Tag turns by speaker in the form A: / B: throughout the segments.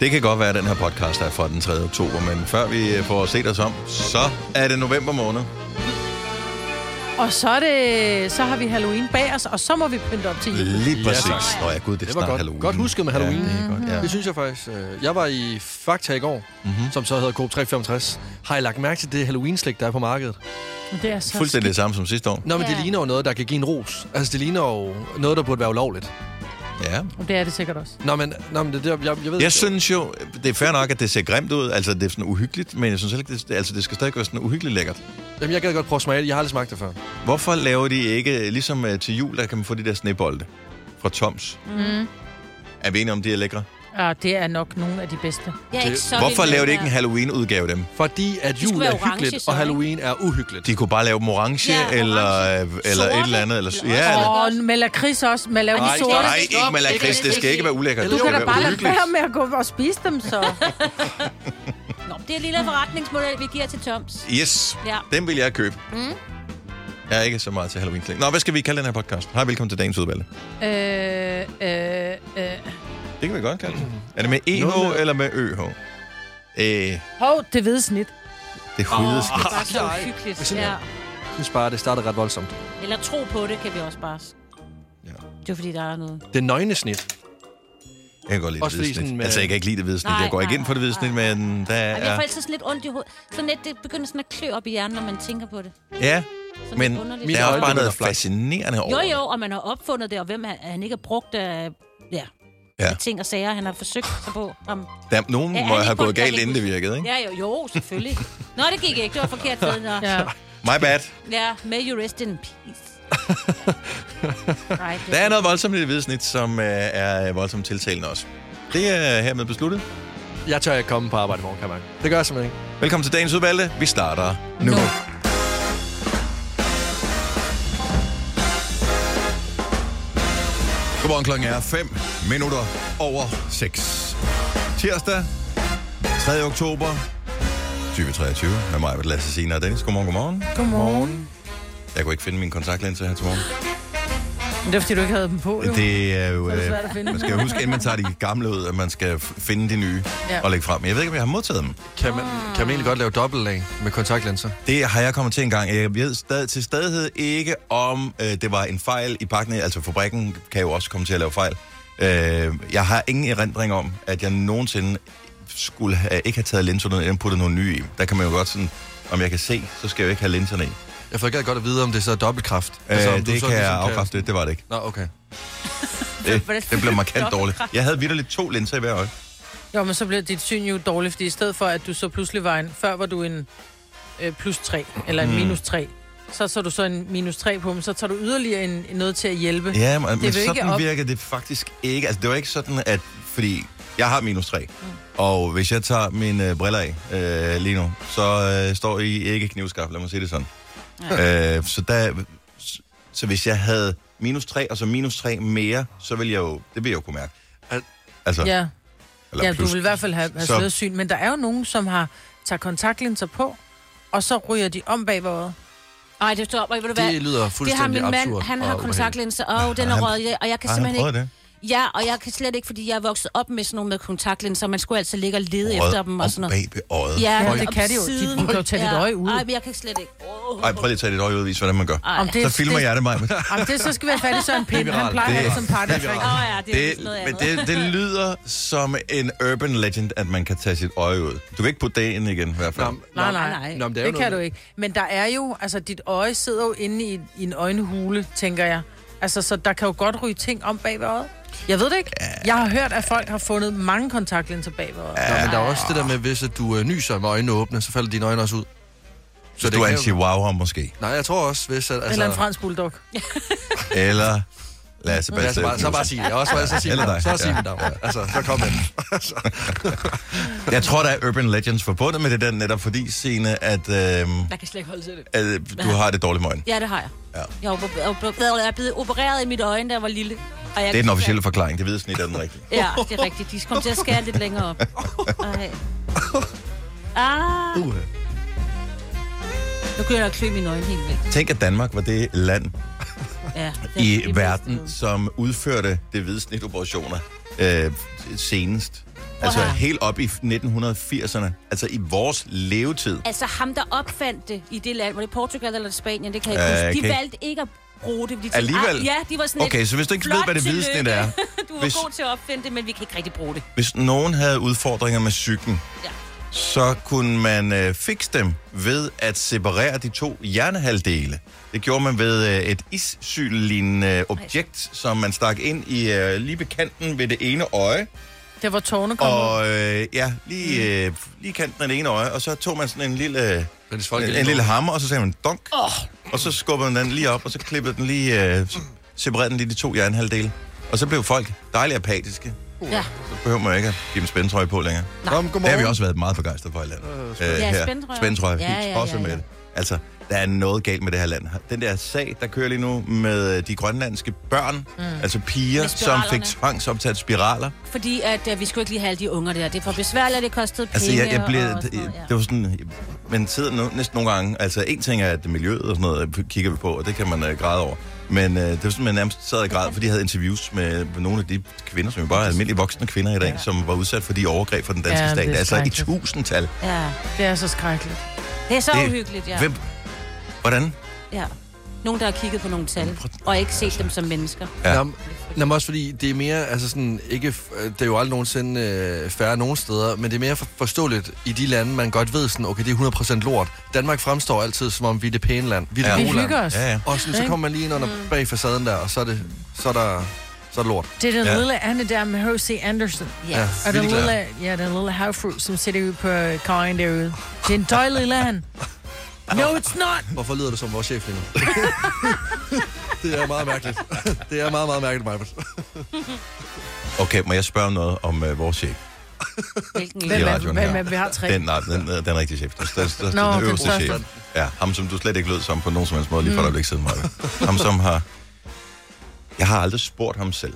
A: Det kan godt være, at den her podcast er fra den 3. oktober, men før vi øh, får set os om, så er det november måned.
B: Og så, er det, så har vi Halloween bag os, og så må vi pynte op til jul.
A: Lige
C: Ja,
A: præcis.
C: tak.
A: Nå ja, gud, det er
C: Det
A: snart
C: var godt,
A: Halloween.
C: godt husket med Halloween.
A: Ja, det er godt, ja.
C: Det synes jeg faktisk. øh, Jeg var i Fakta i går, mm-hmm. som så hedder Coop 365. Har I lagt mærke til det Halloween-slik, der er på markedet?
B: Det er så
A: Fuldstændig det samme som sidste år.
C: Nå, men
B: Ja.
C: det ligner jo noget, der kan give en ros. Altså, det ligner jo noget, der burde være ulovligt.
A: Ja.
B: skidt. Det er det sikkert også.
C: Nå, men, nå, men det, det, jeg, jeg ved
A: Jeg synes jo, det er fair nok, at det ser grimt ud. Altså, det er sådan uhyggeligt, men jeg synes heller ikke, det, altså, det skal stadig være sådan uhyggeligt lækkert.
C: Jamen, jeg gad godt prøve at smage det. Jeg har aldrig smagt det før.
A: Hvorfor laver de ikke, ligesom øh, til jul, der kan man få de der snebolde fra Toms? Mm. Er vi enige om, de er lækre?
B: Ja, det er nok nogle af de bedste.
D: Jeg er
C: Det-
D: ikke så
A: Hvorfor
D: vild med
A: laver de
D: det
A: ikke en
D: der.
A: Halloween-udgave af dem?
C: Fordi at
D: skulle
C: jul
D: være
C: er
D: orange,
C: hyggeligt,
D: så,
C: og
D: ikke?
C: Halloween er uhyggeligt.
A: De kunne bare lave dem orange,
D: Ja,
A: ja,
D: orange.
A: eller, øh, eller
D: Sorte.
A: et eller andet. Eller,
D: Eller
A: ja, eller,
D: også-
B: Og med lakrids også. Med lave
C: Ej,
B: de sorte.
A: nej, ikke med lakrids. Det skal ikke være ulækkert.
C: Du
B: Du
A: det
B: kan
A: skal
B: da
A: være
B: bare lade
A: uhyggeligt.
B: være med at gå og spise dem, så.
D: Nå, det er en lille forretningsmodel, vi giver til Toms.
A: Yes,
D: Ja.
A: den vil jeg købe. Mm. Jeg er ikke så meget til halloween -kling. Nå, hvad skal vi kalde den her podcast? Hej, velkommen til dagens udvalg.
B: Øh, øh, øh.
A: Det kan vi godt kalde den. Er det med EH
C: Noget-
A: eller med ØH? Øh, det
B: Hov, det hvide snit.
A: er huides.
D: Det er bare så
C: nej.
D: uhyggeligt.
C: Sådan
D: Ja.
C: der. Jeg synes bare, det startede ret voldsomt.
D: Eller tro på det, kan vi også bare.
A: Ja.
D: Ja. Det er fordi, der er noget.
C: Det er nøgnesnit.
A: Jeg kan godt lide det
C: Også fordi
A: hvide snit.
C: sådan med-
A: Altså, jeg kan ikke lide det hvide snit.
D: Nej,
A: Jeg går ikke
D: nej,
A: ind for det hvide snit, men der
D: Ej, Jeg
A: er...
D: får altid sådan lidt ondt i hovedet. Sådan lidt, det begynder sådan at klø op i hjernen, når man tænker på det.
A: Ja,
D: Sådan
A: men
D: lidt underligt.
A: der er også
C: øjne
A: bare
C: begynder
A: noget
C: at flakke.
A: fascinerende over
D: Jo,
A: det.
D: jo, og man har opfundet det, og hvem er, er han ikke har brugt af ja,
A: Ja.
D: ja. ting og sager, han har forsøgt sig på. Om,
A: Der, nogen
D: Ja,
A: ja,
D: er
A: må
D: det
A: have
D: ikke
A: gået
D: kun- jeg
A: galt,
D: kan
A: inden det
D: ikke
A: virkede, ikke?
D: ja, jo, jo, selvfølgelig. Nå, det gik ikke. Det var forkert ved. Nå.
B: Ja.
D: Ja.
A: My bad.
D: ja, may you rest in peace. Nej, det
A: Der er noget voldsomt i det hvide snit, som øh, er voldsomt tiltalende også. Det er hermed besluttet.
C: Jeg tør ikke komme på arbejde i morgen, kan jeg mærke. Det gør jeg simpelthen ikke.
A: Velkommen til dagens udvalgte. Vi starter nu.
D: Nu.
A: nu. Godmorgen klokken er 5 minutter over 6. Tirsdag, 3. oktober 2023. Med mig, Britt, Lasse Signe og Dennis. Godmorgen, godmorgen.
B: Godmorgen.
A: Jeg kunne ikke finde min kontaktlinser her til morgen.
B: Men det er, fordi du ikke havde dem på, jo.
A: Det er jo...
B: Så er det
A: øh,
B: svært at finde.
A: Man skal jo huske, inden man tager de gamle ud, at man skal f- finde de nye
B: Ja.
A: og lægge frem. Men jeg ved ikke, om jeg har modtaget dem.
C: Kan man, kan man egentlig godt lave dobbeltlag med kontaktlinser?
A: Det har jeg kommet til en gang. Jeg ved stadig, til stadighed ikke, om øh, det var en fejl i pakken. Altså fabrikken kan jo også komme til at lave fejl. Øh, jeg har ingen erindring om, at jeg nogensinde skulle have, ikke have taget linserne ned og puttet nogle nye i. Der kan man jo godt sådan, om jeg kan se, så skal jeg jo ikke have linserne i. Øh,
C: Jeg får ikke godt at vide, om det så er dobbeltkraft. om
A: det
C: du
A: kan
C: så
A: jeg
C: ligesom
A: afkræfte, det var det ikke.
C: Nå, okay.
A: Det, det blev markant dårligt. Jeg havde vidderligt to linser i hver øje.
B: Jo, men så blev dit syn jo dårligt, fordi i stedet for, at du så pludselig var en... Før var du en øh, plus 3, eller
A: Mm.
B: en minus 3. Så så du så en minus 3 på, men så tager du yderligere en, noget til at hjælpe.
A: Ja, men, men
B: vil ikke
A: sådan
B: op-
A: virker det faktisk ikke. Altså, det var ikke sådan, at... Fordi jeg har minus 3, mm. og hvis jeg tager mine øh, briller af øh, lige nu, så øh, står I ikke knivskarpt, lad mig sige det sådan. Ja. Øh, så, der, så, så hvis jeg havde minus 3, og så minus 3 mere, så ville jeg jo... Det ville jeg jo kunne mærke.
C: Al-
A: Altså,
B: ja.
A: eller
B: ja du
A: plus.
B: vil i hvert fald have, have
A: Så-
B: slået syn. Men der er jo nogen, som har tager kontaktlinser på, og så ryger de om bag øjet.
D: Ej, det står, ved du hvad?
C: Det lyder
D: det har min
C: fuldstændig
D: mand,
C: absurd
D: han
C: og
D: har
C: ubehageligt.
D: kontaktlinser. Åh, oh, den
A: Har
D: er
A: han-
D: røget, ja, og jeg kan
A: Har han
D: simpelthen ikke...
A: prøvet det?
D: Ja, og jeg kan slet ikke, fordi jeg er vokset op med sådan nogle med kontaktlinser. Man skulle altid ligge og lede
A: Rød
D: efter dem og sådan noget.
A: Om bag øjet.
D: Ja,
B: Ja,
D: men
B: det
D: om
B: kan de jo. De-
D: siden.
B: du kan jo tage dit øje ud.
D: Nej, men jeg kan slet ikke. Oh.
A: Ej, prøv lige at tage dit øje ud og vise, hvordan man gør.
D: Ej.
B: Om det-
A: Så filmer jeg det, mig.
B: Om det så skal vi have fat i Søren Pind. Han
C: viralt.
B: plejer at
A: Det
B: have
A: er-
B: det som partnerfrik.
D: Åh ja, det er vist
A: Det,
D: noget
A: men
D: andet.
A: det, det lyder som en urban legend, at man kan tage sit øje ud. Du kan ikke putte det ind igen, i hvert fald.
C: Nå,
B: Nej,
C: nå,
B: nej,
D: nej.
B: nej.
C: Nå, men det
B: det,
C: er jo
B: det kan
C: noget-
B: du ikke. Men der er jo, altså dit øje sidder jo inde i, i en øjenhule, tænker jeg. Altså, så der kan jo godt ryge ting om bag ved øjet. Jeg ved det ikke. Jeg har hørt, at folk har fundet mange kontaktlinser bag ved øjet.
C: Nå, men der er også det der med, hvis at du øh, nyser med øjnene åbne, så falder dine øjne også ud.
A: Så du er en
C: kan jo-
A: chihuahua måske.
C: Nej, jeg tror også, hvis... At, altså,
B: Eller en fransk bulldog.
A: Eller lad os
C: Ja, så bare, så bare
A: bare
C: sige det. Også, så sige
A: Eller
C: Eller
A: dig.
C: dig. Så sige
A: Ja.
C: det. Ja. Altså, så kom med den.
A: Jeg tror, der er urban legends forbundet med det der, netop fordi, Signe, at, øh,
D: Jeg kan slet ikke holde til det.
A: at du har det dårligt med øjnene.
D: Ja, det har jeg.
A: Ja.
D: Jeg er oper- oper- Jeg er blevet opereret i mit øjne, da jeg var lille. Og jeg
A: Det er den officielle forklaring. Det hvide snit er den rigtige.
D: Ja, det er rigtigt. De kom til at skære lidt længere op. Ej. Ah,
C: Uh.
D: nu kunne jeg klø mine øjne helt væk.
A: Tænk, at Danmark var det land
D: Ja, det er
A: i
D: det bedste
A: verden,
D: sted.
A: som udførte det hvide snit operationer øh, senest. Altså
D: her.
A: helt op i 1980'erne. Altså i vores levetid.
D: Altså ham, der opfandt det i det land, var det Portugal eller Spanien, det kan jeg
A: Ja,
D: ikke
A: jeg
D: huske. De
A: kan ikke-
D: valgte ikke at bruge det. Fordi de
A: Alligevel?
D: "Ah, ja, de var sådan et
A: Okay, så hvis du ikke ved,
D: flot
A: hvad det hvide snit
D: tillykke.
A: er,
D: du var
A: hvis-
D: hvis... god til at opfinde det, men vi kan ikke rigtig bruge det.
A: Hvis nogen havde udfordringer med cyklen,
D: Ja.
A: så kunne man øh, fikse dem ved at separere de to hjernehalvdele. Det gjorde man ved øh, et issyl-lignende objekt, som man stak ind i øh, lige ved kanten ved det ene øje.
B: Det var tårne kom ud.
A: Og øh, ja, lige, øh,
D: Mm.
A: lige kanten af det ene øje. Og så tog man sådan en lille,
C: Men det er folk,
A: en,
C: der
A: en lille
C: lige-
A: hammer, og så sagde man donk. Oh. Og så skubbede man den lige op, og så klippede den lige, øh, så separerede den lige de to hjernehalvdele. Og så blev folk dejligt apatiske.
D: Ja,
A: Så behøver man jo ikke at give dem spændtrøje på længere.
C: Kom,
A: Det har vi
C: godmorgen.
A: også været meget begejstret for i landet. Øh,
D: Ja,
A: her.
D: spændtrøjer.
A: Spændtrøjer.
D: Ja, ja,
A: Helt
D: ja,
A: tosset med
D: ja.
A: det. Altså, der er noget galt med det her land. Den der sag, der kører lige nu med øh, de grønlandske børn, mm. altså piger,
D: Med
A: som
D: spiralerne.
A: fik tvangsoptaget spiraler.
D: fordi at, uh, vi skulle ikke lige have de unger der. Det er for besværligt, og det kostede penge.
A: Altså, jeg, jeg
D: og-
A: blev,
D: og sådan
A: det,
D: noget,
A: det var sådan, man sidder nu, næsten nogle gange, altså en ting er, at miljøet og sådan noget øh, kigger vi på, og det kan man øh, græde over. Men øh, det var sådan, man nærmest sad og græd, fordi jeg havde interviews med nogle af de kvinder, som jo bare er almindelige voksne kvinder i dag, ja. som var udsat for de overgreb fra den danske
B: Ja,
A: ja,
B: det
A: stat.
B: er
A: Altså i
B: skrækkeligt.
A: tusindtal.
D: ja. ja.
B: Det er så skrækkeligt.
D: Det er så
A: Det-
D: det... uhyggeligt, ja.
A: Hvem? Hvordan?
D: ja. Nogen, der har kigget på nogle tal, og ikke set dem som mennesker.
A: Ja.
C: Jamen, jamen også fordi, det er mere, altså sådan, ikke, f- øh, det er jo aldrig nogensinde øh, færre nogen steder, men det er mere for, forståeligt i de lande, man godt ved sådan, okay, det er 100% lort. Danmark fremstår altid, som om vi er det pæne land. Vi er
A: Ja.
C: det
B: Vi
C: ja. gode
B: hygger
C: land.
B: os.
A: Ja, ja.
C: Og sådan, så
B: Ikke? Mm.
C: kommer man lige ind under bag facaden der, og så er det, så er der, så er det lort.
B: Det er den
A: Ja.
B: ja. lille Anne der med H.C. Andersen.
D: Ja. ja.
B: Og den
C: Vildt glad.
B: lille, ja, den lille havfru, som sidder ude på øh, kajen derude. Det er en døj lille han. No, it's not.
C: Hvorfor lyder du som vores chef lige nu? det er meget mærkeligt. Det er meget, meget mærkeligt, Majbert.
A: Okay, må jeg spørge om noget om øh, vores chef?
D: Hvilken
B: Hvem
A: I
B: er,
A: radioen
B: hvem
A: her.
B: er, vi har tre.
A: Den, nej, den, øh, den rigtige chef. Den, den, den, den,
B: Nå,
A: den
B: den
A: øverste
B: første.
A: chef. Ja, ham som du slet ikke lød som på nogen som helst måde, lige for mm. øjeblik siden, Maja. Ham som har... Jeg har aldrig spurgt ham selv.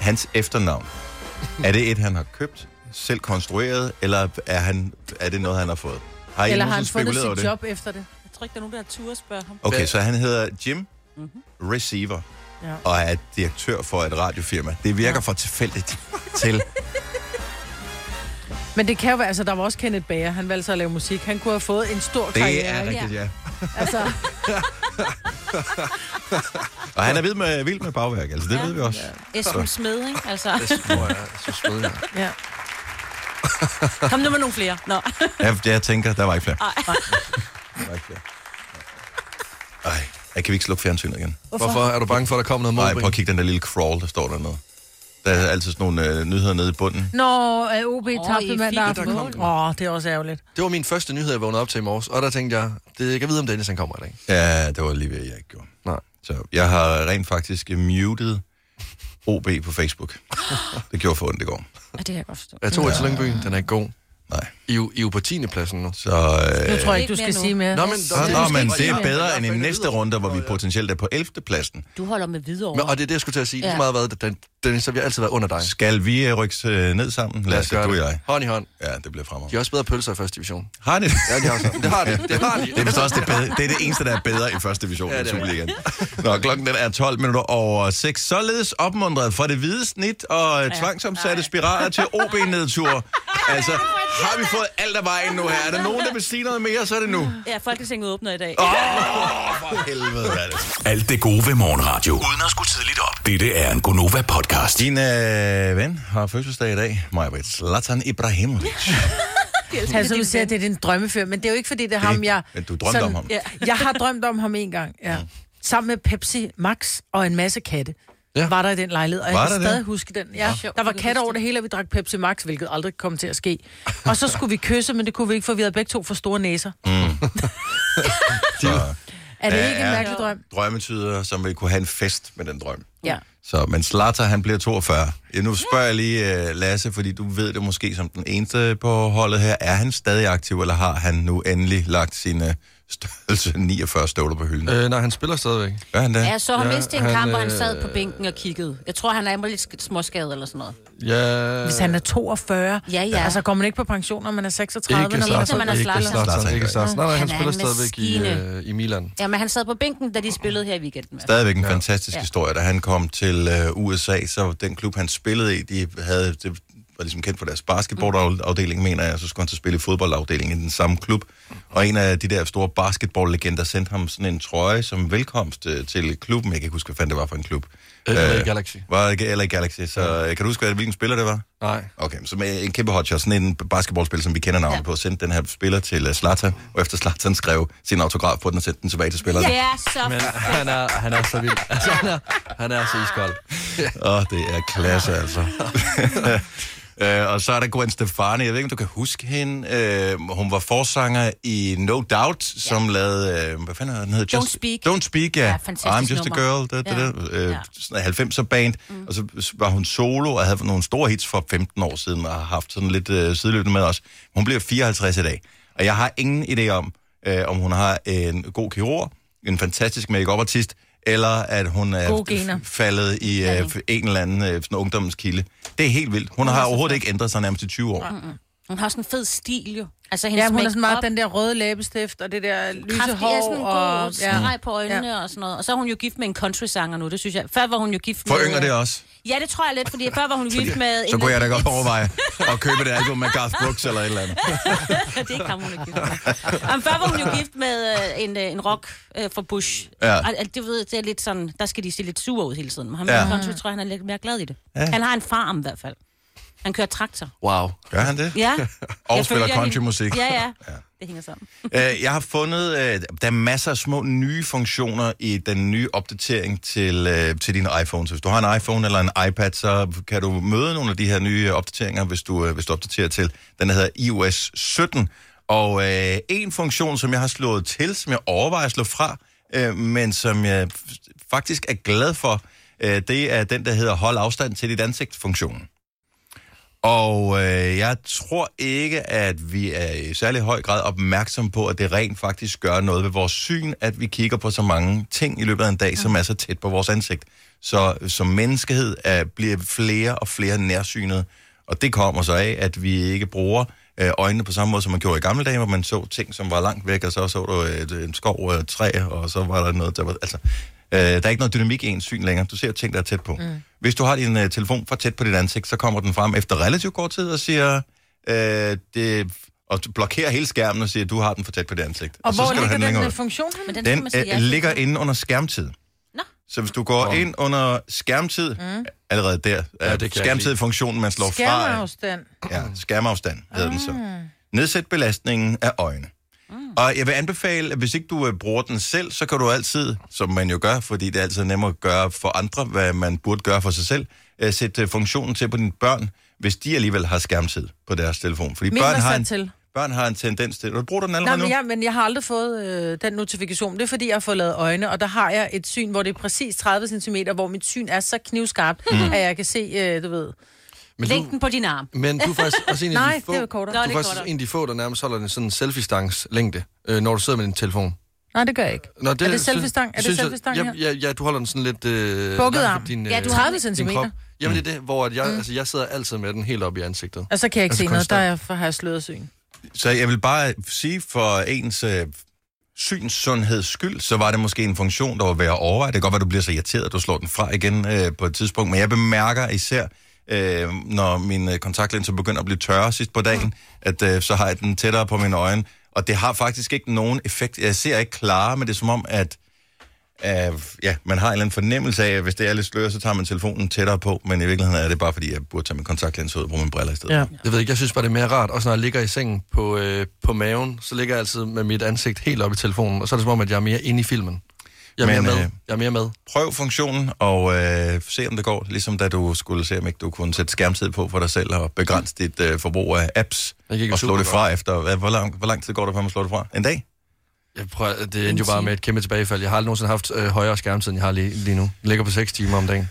A: Hans efternavn. Er det et, han har købt, selv konstrueret, eller er, han, er det noget, han har fået? Har I
B: Eller har han
A: nogensinde
B: fundet
A: spekuleret over
B: sit
A: det?
B: job efter det?
D: Jeg tror ikke, der er nogen, der har tur at spørge ham.
A: Okay,
C: Hvad-
A: så han hedder Jim Receiver
B: Mm-hmm. Ja.
A: og er direktør for et radiofirma. Det virker for tilfældigt til
B: Men det kan jo være, altså der var også Kenneth Bager, han valgte sig at lave musik. Han kunne have fået en stor
A: Det
B: karriere.
A: er
B: ikke?
A: rigtigt, ja.
B: Altså,
A: Og han er vild med, vild med bagværk, altså det ja.
D: Ja.
A: ved vi også.
D: Esben Smed, ikke? Altså,
C: Hvor er jeg så spændende.
B: ja.
D: kom nu med nogle flere. Nå.
A: Jeg, jeg tænker, der var ikke flere. Der var ikke flere. Ej, jeg kan vi ikke slukke fjernsynet igen?
C: Hvorfor er du bange for, at der kommer noget
A: Nej, prøv at
C: mobbing?
A: kigge den der lille crawl, der står dernede. Der er altid sådan nogle øh, nyheder nede i bunden.
B: Nå, øh, OB
D: Åh,
B: tabte
D: I
B: mandag
D: fik et
B: aften.
D: mål.
B: Åh, det er også ærgerligt.
C: Det var min første nyhed, jeg vågnede op til i morges, og der tænkte jeg, det jeg kan vide, om Dennis han kommer i dag.
A: Ja, det var lige ved, jeg ikke gjorde.
C: Nej.
A: Så jeg har rent faktisk øh, muted OB på Facebook. Det gjorde for ondt i går.
D: Ja, det kan jeg godt forstå.
C: Jeg tog ja. til Lyngby, den er god.
A: Nej.
C: I, er jo- I er jo på 10. pladsen nu.
A: Så, øh,
B: Nu tror jeg
D: Ikke
B: ikke, du skal
D: mere nu.
B: sige mere.
C: Nå, men-
A: Nå,
C: Det
A: nå,
C: er måske
A: men
C: ikke
A: det er
C: helt-
A: bedre end i
C: Jeg fandt
A: næste
C: videre.
A: runde, hvor vi potentielt er på 11. pladsen.
D: Du holder med videre
C: Men, og det er det, jeg skulle til at sige. Ja. Lige
D: Ja.
C: så meget været, den, Dennis, så har vi altid været under dig.
A: Skal vi øh, rykke øh, ned sammen? Lad os
C: gøre
A: du og
C: det.
A: jeg.
C: Hånd i hånd.
A: Ja, det bliver
C: De
A: fremover.
C: har også bedre pølser i første division.
A: Har det?
C: Ja, de har så. Det har de. Det har de.
A: Det er vist også det, bedre. det, er det eneste, der er bedre i første division ja,
C: Ja,
A: i
C: det er
A: Superligaen. Nå, klokken den er 12 minutter over 6. Således opmuntret fra det hvide snit og ja. tvangsomsatte spiraler til OB-nedtur. Altså, har vi fået alt af vejen nu her? Er der nogen, der vil sige noget mere, så er det nu. Åh,
D: Ja, Folketinget åbner i dag.
A: for helvede, hvad er det?
E: Alt det gode ved morgenradio. Uden at skulle tidligt op. Dette er en Gonova-podcast.
A: Din øh, ven har fødselsdag i dag. Majbrit Zlatan Ibrahimovic.
D: altså,
B: Han som siger, at det er din drømmefyr, men det er jo ikke, fordi det er ham, jeg...
A: men du drømte om ham.
B: Ja. Jeg har drømt om ham en gang, ja. Sammen med Pepsi Max og en masse katte.
C: Ja.
B: Ja. Var der i den lejlighed, og
A: Var
B: jeg kan
A: der det?
B: stadig huske den. Ja.
D: Sjovt,
B: Der var
D: du kan
B: katte
D: huske
B: over det hele, og vi drak Pepsi Max, hvilket aldrig kom til at ske. Og så skulle vi kysse, men det kunne vi ikke, for vi havde begge to for store næser.
A: Så,
B: Er det
A: Ja,
B: ikke en
A: ja.
B: mærkelig drøm?
A: drømmetyder, som vil kunne have en fest med den drøm.
B: Ja.
A: Så, men Slater, han bliver 42. Ja, Nu spørger jeg lige uh, Lasse, fordi du ved det måske som den eneste på holdet her. Er han stadig aktiv, eller har han nu endelig lagt sine størrelse 49 støvler på hylden? Øh.
C: Øh, nej, han spiller stadigvæk.
A: Gør han det?
D: Ja, så har
C: Ja,
D: ja, mistet en
C: han,
D: kamp, og han
C: øh,
D: sad på bænken og kiggede. Jeg tror, han er lidt sk- småskadet eller sådan noget.
C: Ja.
B: Hvis han er 42,
D: Ja, ja.
B: altså går man ikke på pension, når man er 36,
C: Ikke
B: når man er
D: Zlatan.
B: sådan.
D: man er
C: Ikke
D: slalom.
C: Zlatan. Ikke Zlatan. Nej, nej, han
D: Han er
C: spiller
D: en
C: stadigvæk i,
D: maskine.
C: øh, i Milan.
D: Ja, men han sad på bænken, da de spillede her i weekenden.
A: Stadigvæk en ja. fantastisk ja.
D: Ja.
A: historie. Da han kom til øh, USA, så den klub, han spillede i, de havde det, var ligesom kendt for deres basketballafdeling, mener jeg, så skulle han så spille i fodboldafdelingen i den samme klub. Og en af de der store basketballlegender sendte ham sådan en trøje som velkomst øh, til klubben. Jeg kan ikke huske, hvad fanden det var for en klub.
C: Eller i Galaxy.
A: Var det LA Galaxy, så øh, kan du huske, hvad- hvilken spiller det var?
C: Nej.
A: Okay, så med en kæmpe hotshot, sådan en basketballspiller, som vi kender navnet ja. på, sendte den her spiller til Slatan, og efter Slatan skrev sin autograf på den og sendte den tilbage til spilleren.
D: Det er så...
C: Men han er, han er så vild. Altså, han, er, han er så iskold.
A: Åh, oh, det er klasse, altså. Øh, og så er der Gwen Stefani. Jeg ved ikke, om du kan huske hende. Øh, hun var forsanger i No Doubt, som lavede... Øh, hvad fanden hedder den? Hed?
D: Don't Speak.
A: Don't Speak, ja.
D: Ja, fantastisk
A: I'm just
D: nummer.
A: a girl. Da, da, da,
D: Ja,
A: øh,
D: ja.
A: Sådan en 90'er band. Mm. Og så var hun solo og havde nogle store hits for 15 år siden, og har haft sådan lidt øh, sideløbende med os. Hun bliver 54 i dag. Og jeg har ingen idé om, øh, om hun har en god kirurg, en fantastisk make-up-artist, eller at hun er
B: Gode gener.
A: f- faldet i øh, en eller anden øh, sådan ungdommens kilde. Det er helt vildt. Hun har overhovedet ikke ændret sig nærmest i 20 år.
D: Hun har sådan en fed stil, jo. Altså, hendes
B: Ja, hun har sådan meget
D: make-up,
B: den der røde læbestift, og det der lyse
D: kraftig, ja,
B: hår,
D: sådan en
B: og...
D: god streg på øjnene og sådan noget. Og så er hun jo gift med en country-sanger nu, det synes jeg. Før var hun jo gift med...
A: For yngre det også.
D: Ja, det tror jeg lidt, fordi før var hun gift med...
A: Så kunne jeg da godt overveje at købe det album med Garth Brooks eller et eller andet.
D: det er ikke ham, hun er gift med. Jamen, før var hun jo gift med øh, en, øh, en rock øh, fra Bush.
A: Ja.
D: Og, øh, det, ved, det er lidt sådan, der skal de se lidt sure ud hele tiden. Men ham
A: Ja.
D: ja. country tror jeg, han er lidt mere glad i det. Ja. Han har en farm i hvert fald. Han kører traktor.
C: Wow.
A: Gør han det?
D: Ja.
A: Og spiller
D: Jeg følger hende.
A: countrymusik.
D: Ja, ja, ja. Det hænger sammen.
A: Øh, jeg har fundet, øh, der er masser af små nye funktioner i den nye opdatering til, øh, til din iPhone. Så hvis du har en iPhone eller en iPad, så kan du møde nogle af de her nye øh, opdateringer, hvis du, øh, hvis du opdaterer til. Den hedder iOS 17. Og øh, en funktion, som jeg har slået til, som jeg overvejer at slå fra, øh, men som jeg f- faktisk er glad for, øh, det er den, der hedder hold afstand til dit ansigt-funktionen. Og øh, jeg tror ikke, at vi er i særlig høj grad opmærksom på, at det rent faktisk gør noget ved vores syn, at vi kigger på så mange ting i løbet af en dag, som er så tæt på vores ansigt. Så som menneskehed er, bliver flere og flere nærsynede, og det kommer så af, at vi ikke bruger øh, øjnene på samme måde, som man gjorde i gamle dage, hvor man så ting, som var langt væk, og så så du et, en skov og et træ, og så var der noget, der var... Altså, Øh, der er ikke noget dynamik i ens syn længere. Du ser ting, der er tæt på. Mm. Hvis du har din øh, telefon for tæt på dit ansigt, så kommer den frem efter relativt kort tid og siger, øh, det, og du blokerer hele skærmen og siger, du har den for tæt på dit ansigt.
B: Og
A: så
B: hvor
A: skal du have
B: ligger den
A: længere
B: øh,
A: ud.
B: funktion? henne?
D: Men den, skal man
A: Den
D: sige
A: øh,
D: ja til.
A: ligger inde under skærmtid.
D: Nå.
A: Så hvis du går ind under skærmtid, mm. allerede der,
C: Ja,
A: ja,
C: det kan jeg
A: skærmtid er funktionen, man slår fra. øh, af.
B: Skærmafstand.
A: Ja, skærmafstand hedder den så.
B: Ah.
A: Nedsæt belastningen af øjne.
B: Mm.
A: Og jeg vil anbefale, at hvis ikke du øh, bruger den selv, så kan du altid, som man jo gør, fordi det er altid nemmere at gøre for andre, hvad man burde gøre for sig selv, øh, sætte øh, funktionen til på dine børn, hvis de alligevel har skærmtid på deres telefon. Fordi
B: Min
A: børn
B: var
A: har,
B: sat
A: en,
B: til.
A: børn har en tendens til... Du bruger den
B: Nej,
A: allerede
B: men
A: nu?
B: jeg, men jeg har aldrig fået øh, den notifikation. Det er, fordi jeg har fået lavet øjne, og der har jeg et syn, hvor det er præcis 30 cm, hvor mit syn er så knivskarpt,
A: Mhm.
B: mm. at jeg kan se, øh, du ved...
C: Men
D: Længden på din arm.
C: men du er faktisk også en af
B: Nej,
C: de få,
B: det er jo kortere.
D: Nå,
C: du
D: det
C: er
D: er
C: faktisk
D: kortere.
C: en af de få, der nærmest holder en sådan selfie-stangs længde, øh, når du sidder med din telefon.
B: Nej, det gør jeg ikke.
C: Nå,
B: Er det
C: sy-
B: selfie-stang? Er det
C: synes jeg-
B: selfie-stang
C: ja,
B: her?
C: Ja, ja, du holder den sådan lidt... Øh,
B: Bukket
C: langt fra
B: arm. Mm.
C: Din, øh,
D: Ja, du har
B: 30
C: din
B: cm.
C: krop. Jamen det er det, hvor at jeg, altså, jeg sidder altid med den helt op i ansigtet.
B: Og så kan jeg ikke
C: Altså
B: se noget, der
C: konstant.
B: er, jeg- for har jeg sløret syn.
A: Så jeg vil bare sige, for ens øh, synssundheds skyld, så var det måske en funktion, der var værd at overveje. Det kan godt være, du bliver så irriteret, at du slår den fra igen øh, på et tidspunkt. Men jeg bemærker især, øh, når mine øh, kontaktlinser begynder at blive tørre sidst på dagen, at øh, så har jeg den tættere på mine øjne. Og det har faktisk ikke nogen effekt. Jeg ser ikke klare, men det er som om, at øh, ja, man har en eller anden fornemmelse af, at hvis det er lidt sløret, så tager man telefonen tættere på. Men i virkeligheden er det bare, fordi jeg burde tage min kontaktlinser ud og bruge mine briller i stedet.
B: Ja.
C: Jeg ved ikke, jeg synes bare, det er mere rart. Også når jeg ligger i sengen på, øh, på maven, så ligger jeg altid med mit ansigt helt op i telefonen. Og så er det som om, at jeg er mere inde i filmen. Jeg er
A: Men,
C: mere med.
A: øh,
C: Jeg er mere med.
A: prøv funktionen, og øh, se om det går, ligesom da du skulle se, om ikke du kunne sætte skærmtid på for dig selv og begrænse dit øh, forbrug af apps,
C: Mm. Det gik jo
A: og slå
C: super
A: det fra efter. Hvad, hvor, lang, hvor lang tid går det, før man slår det fra? En dag?
C: Jeg prøver, det endte jo bare med et kæmpe tilbagefald. Jeg har aldrig nogensinde haft øh, højere skærmtid, end jeg har lige, lige nu. Jeg ligger på 6 timer om dagen.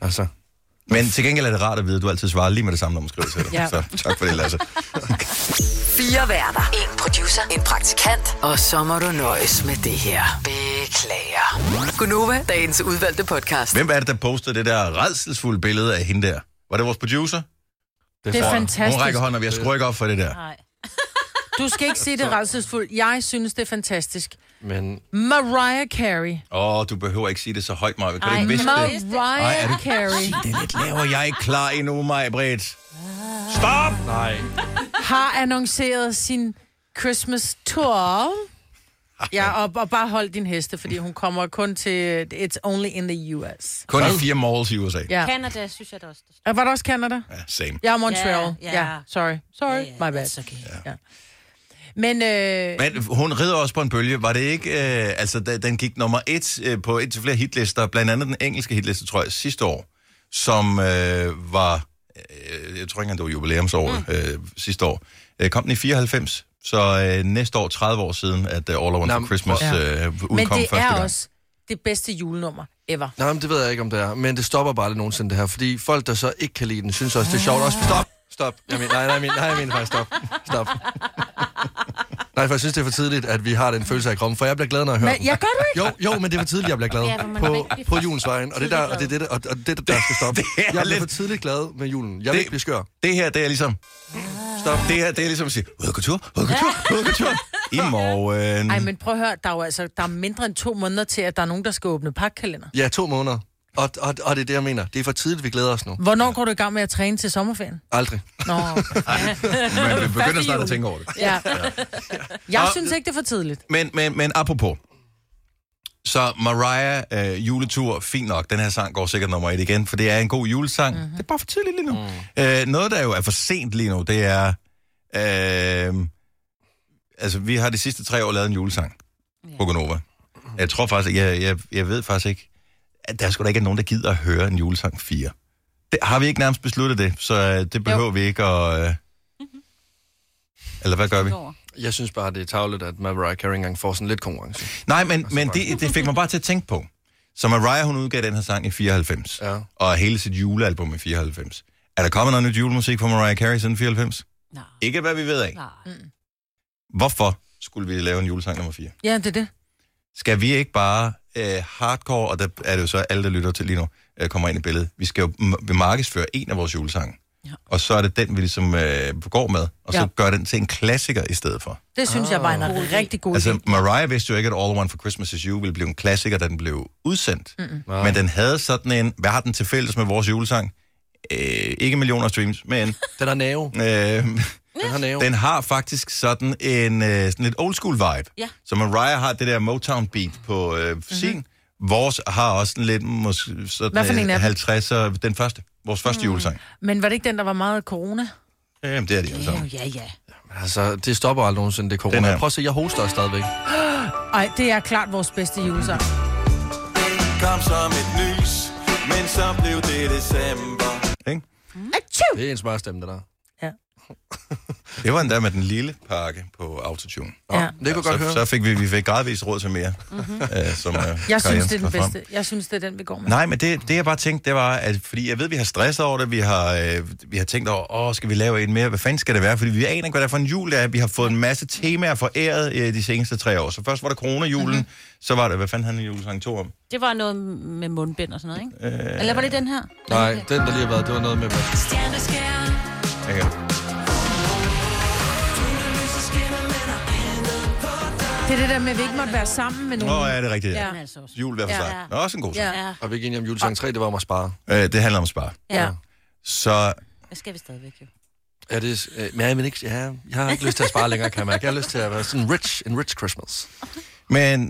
C: Altså,
A: Men til gengæld er det rart at vide, at du altid svarer lige med det samme, når man skriver til dig.
B: Ja.
A: Så tak for det, Lasse.
F: Fire værter. En producer. En praktikant. Og så må du nøjes med det her. Beklager. Gunova, dagens udvalgte podcast.
A: Hvem er det, der postede det der redselsfulde billede af hende der? Var det vores producer?
B: Det er
C: tror jeg.
A: Hun rækker
B: fantastisk.
A: hånden op, jeg skruer ikke op for det der.
D: Nej.
B: Du skal ikke sige det redselsfuldt. Jeg synes, det er fantastisk.
C: Men
B: Mariah Carey.
A: Åh, du behøver ikke sige det så højt, Maja. Kan du
D: Ej,
A: ikke viske det?
B: Mariah
A: Ej, er det-
B: Carey.
A: Det er lidt lavere. Jeg er ikke klar endnu, Maja Bredt. Stop!
C: Nej.
B: har annonceret sin Christmas tour. Ja, og, og bare hold din heste, fordi hun kommer kun til It's Only in the US.
A: Kun i fire malls i USA.
B: Ja.
D: Canada, synes jeg da også.
B: Og Var det også Canada?
A: Ja, same.
B: Ja, Montreal. Ja,
D: Ja, ja.
B: ja. sorry. Sorry,
D: Ja, ja,
B: my bad.
D: that's okay.
B: Ja. Men, øh,
A: Men hun rider også på en bølge. Var det ikke... Øh, altså, da, den gik nummer et øh, på et til flere hitlister, blandt andet den engelske hitliste, tror jeg, sidste år, som øh, var... Øh, jeg tror ikke engang, det var jubilæumsåret mm. øh, sidste år. Øh, kom den i 94, så øh, næste år, 30 år siden, at øh, All I Want
C: Nå,
A: for Christmas
B: ja.
A: øh, udkom
B: men det
A: første
B: er
A: gang.
B: også det bedste julenummer ever.
C: Nej, men det ved jeg ikke, om det er. Men det stopper bare aldrig nogensinde, det her. Fordi folk, der så ikke kan lide den, synes også, det er sjovt. Også, stop! Stop. Jeg mener, nej, nej, jeg mener, nej, jeg mener faktisk, stop. Stop. Nej, for jeg synes, det er for tidligt, at vi har den følelse af kroppen, for jeg bliver glad, når jeg hører
B: Men,
C: den.
B: jeg gør du ikke?
C: Jo, jo, men det er for tidligt, jeg bliver glad
D: Ja, for man er
C: på,
D: rigtig
C: på julens vejen. Og det, der, og det er det, der, og og det, der skal stoppe.
A: Det er
C: Jeg bliver for
A: lidt-
C: tidligt glad med julen. Jeg vil
A: Det-
C: ikke blive skør.
A: Det her, det er ligesom...
B: Ah.
A: Stop. Det her, det er ligesom at sige, ud af kultur, ud af kultur, ud af kultur. I morgen.
B: Ej, men prøv at høre, der er jo altså der er mindre end to måneder til, at der er nogen, der skal åbne pakkalender.
C: Ja, to måneder. Og, og, og det er det, jeg mener. Det er for tidligt, vi glæder os nu.
B: Hvornår går du i gang med at træne til sommerferien?
C: Aldrig.
B: Nå,
A: men vi begynder
D: Første
A: snart at
D: jul.
A: tænke over det.
B: ja. Jeg
A: Og-
B: synes ikke, det er for tidligt.
A: Men, men, men apropos. Så Mariah, øh, juletur, fint nok. Den her sang går sikkert nummer et igen, for det er en god julesang. Mm-hmm. Det er bare for tidligt lige nu. Mm. Øh, noget, der jo er for sent lige nu, det er... Øh, altså, vi har de sidste tre år lavet en julesang på Gonova. Jeg tror faktisk, jeg, jeg, jeg ved faktisk ikke, at der skulle da ikke er nogen, der gider at høre en julesang 4. Det, har vi ikke nærmest besluttet det, så øh, det behøver jo. vi ikke at... Øh, eller hvad gør vi?
D: over.
C: Jeg synes bare, det er tavlet, at Mariah Carey engang får sådan lidt konkurrence.
A: Nej, men, men det, det fik mig bare til at tænke på. Så Mariah, hun udgav den her sang i 94,
C: Ja.
A: og hele sit julealbum i 94. Er der kommet noget nyt julemusik fra Mariah Carey siden 94?
D: Nej.
A: Ikke hvad vi ved af.
D: Nej.
A: Hvorfor skulle vi lave en julesang nummer 4?
B: Ja, det er det.
A: Skal vi ikke bare øh, hardcore, og der er det jo så alle, der lytter til lige nu, øh, kommer ind i billedet. Vi skal jo m- vi markedsføre en af vores julesange. Ja. Og så er det den, vi ligesom øh, går med, og så
B: Ja.
A: gør den til en klassiker i stedet for.
B: Det synes jeg var en rigtig Ah. god idé.
A: Altså, Mariah vidste jo ikke, at All I Want for Christmas Is You ville blive en klassiker, da den blev udsendt. Mm-hmm. Men den havde sådan en... Hvad har den til fælles med vores julesang? Øh, ikke millioner af streams, men
C: Den har nave.
A: øh,
C: Den har nave.
A: den har faktisk sådan en øh, sådan lidt old school vibe.
D: Ja.
A: Så Mariah har det der Motown beat på øh, sin. Mm-hmm. Vores har også en lidt måske,
B: Hvad for en
A: sådan
B: af
A: øh,
B: dem?
A: 50'er, den første. Vores første mm. julesang.
B: Men var det ikke den, der var meget corona?
A: Jamen, det er de jo sammen.
D: Ja, ja.
C: Altså, det stopper aldrig nogensinde, det
A: Den
C: corona.
A: her.
C: Prøv at se, jeg hoster stadigvæk.
B: Ej, det er klart vores bedste julesang.
G: kom som et lys, men så blev det december.
A: Ikke?
C: Det er en smart stemme, det der.
B: Ja.
A: Det var endda med den lille pakke på autotune.
B: ja.
C: Det kunne
A: så,
C: godt høre.
A: så fik vi, vi fik gradvist råd til mere. Mm-hmm. Øh, som, øh, Kari
B: Mhm. Jeg synes, det
A: Jensen
B: er den
A: kom frem.
B: bedste. Jeg synes, det er den, vi går med.
A: Nej, men det, det jeg bare tænkte, det var, at fordi jeg ved, vi har stresset over det, vi har, øh, vi har tænkt over, åh, skal vi lave en mere, hvad fanden skal det være? Fordi vi aner ikke, hvad det er for en jul, det er. Vi har fået en masse temaer foræret øh, de seneste tre år. Så først var der coronajulen,
B: Mhm.
A: mm-hmm. så var det, hvad fanden han julesang to om?
D: Det var noget med mundbind og sådan noget, ikke? Øh... Eller var det den her?
C: Nej, den der lige har været, det var noget med...
D: Stjerneskær.
A: Okay.
B: Det er det der med, at vi ikke måtte være sammen med nogen.
A: Nå, ja, det er rigtigt. Ja.
B: Ja.
D: Den er altså også.
A: Jul hver for
B: Ja.
A: sig. Nå, også en god sang.
B: Ja.
D: Ja.
C: Og vi gik enige om julesang 3, det var om at spare.
A: Øh, det handler om spar.
B: ja.
A: Så
D: Det skal vi stadigvæk jo.
C: Ja, det er, øh, men jeg, vil ikke, ja, jeg har ikke lyst til at spare længere, kan jeg mærke. Jeg har lyst til at være sådan rich, en rich Christmas.
A: Men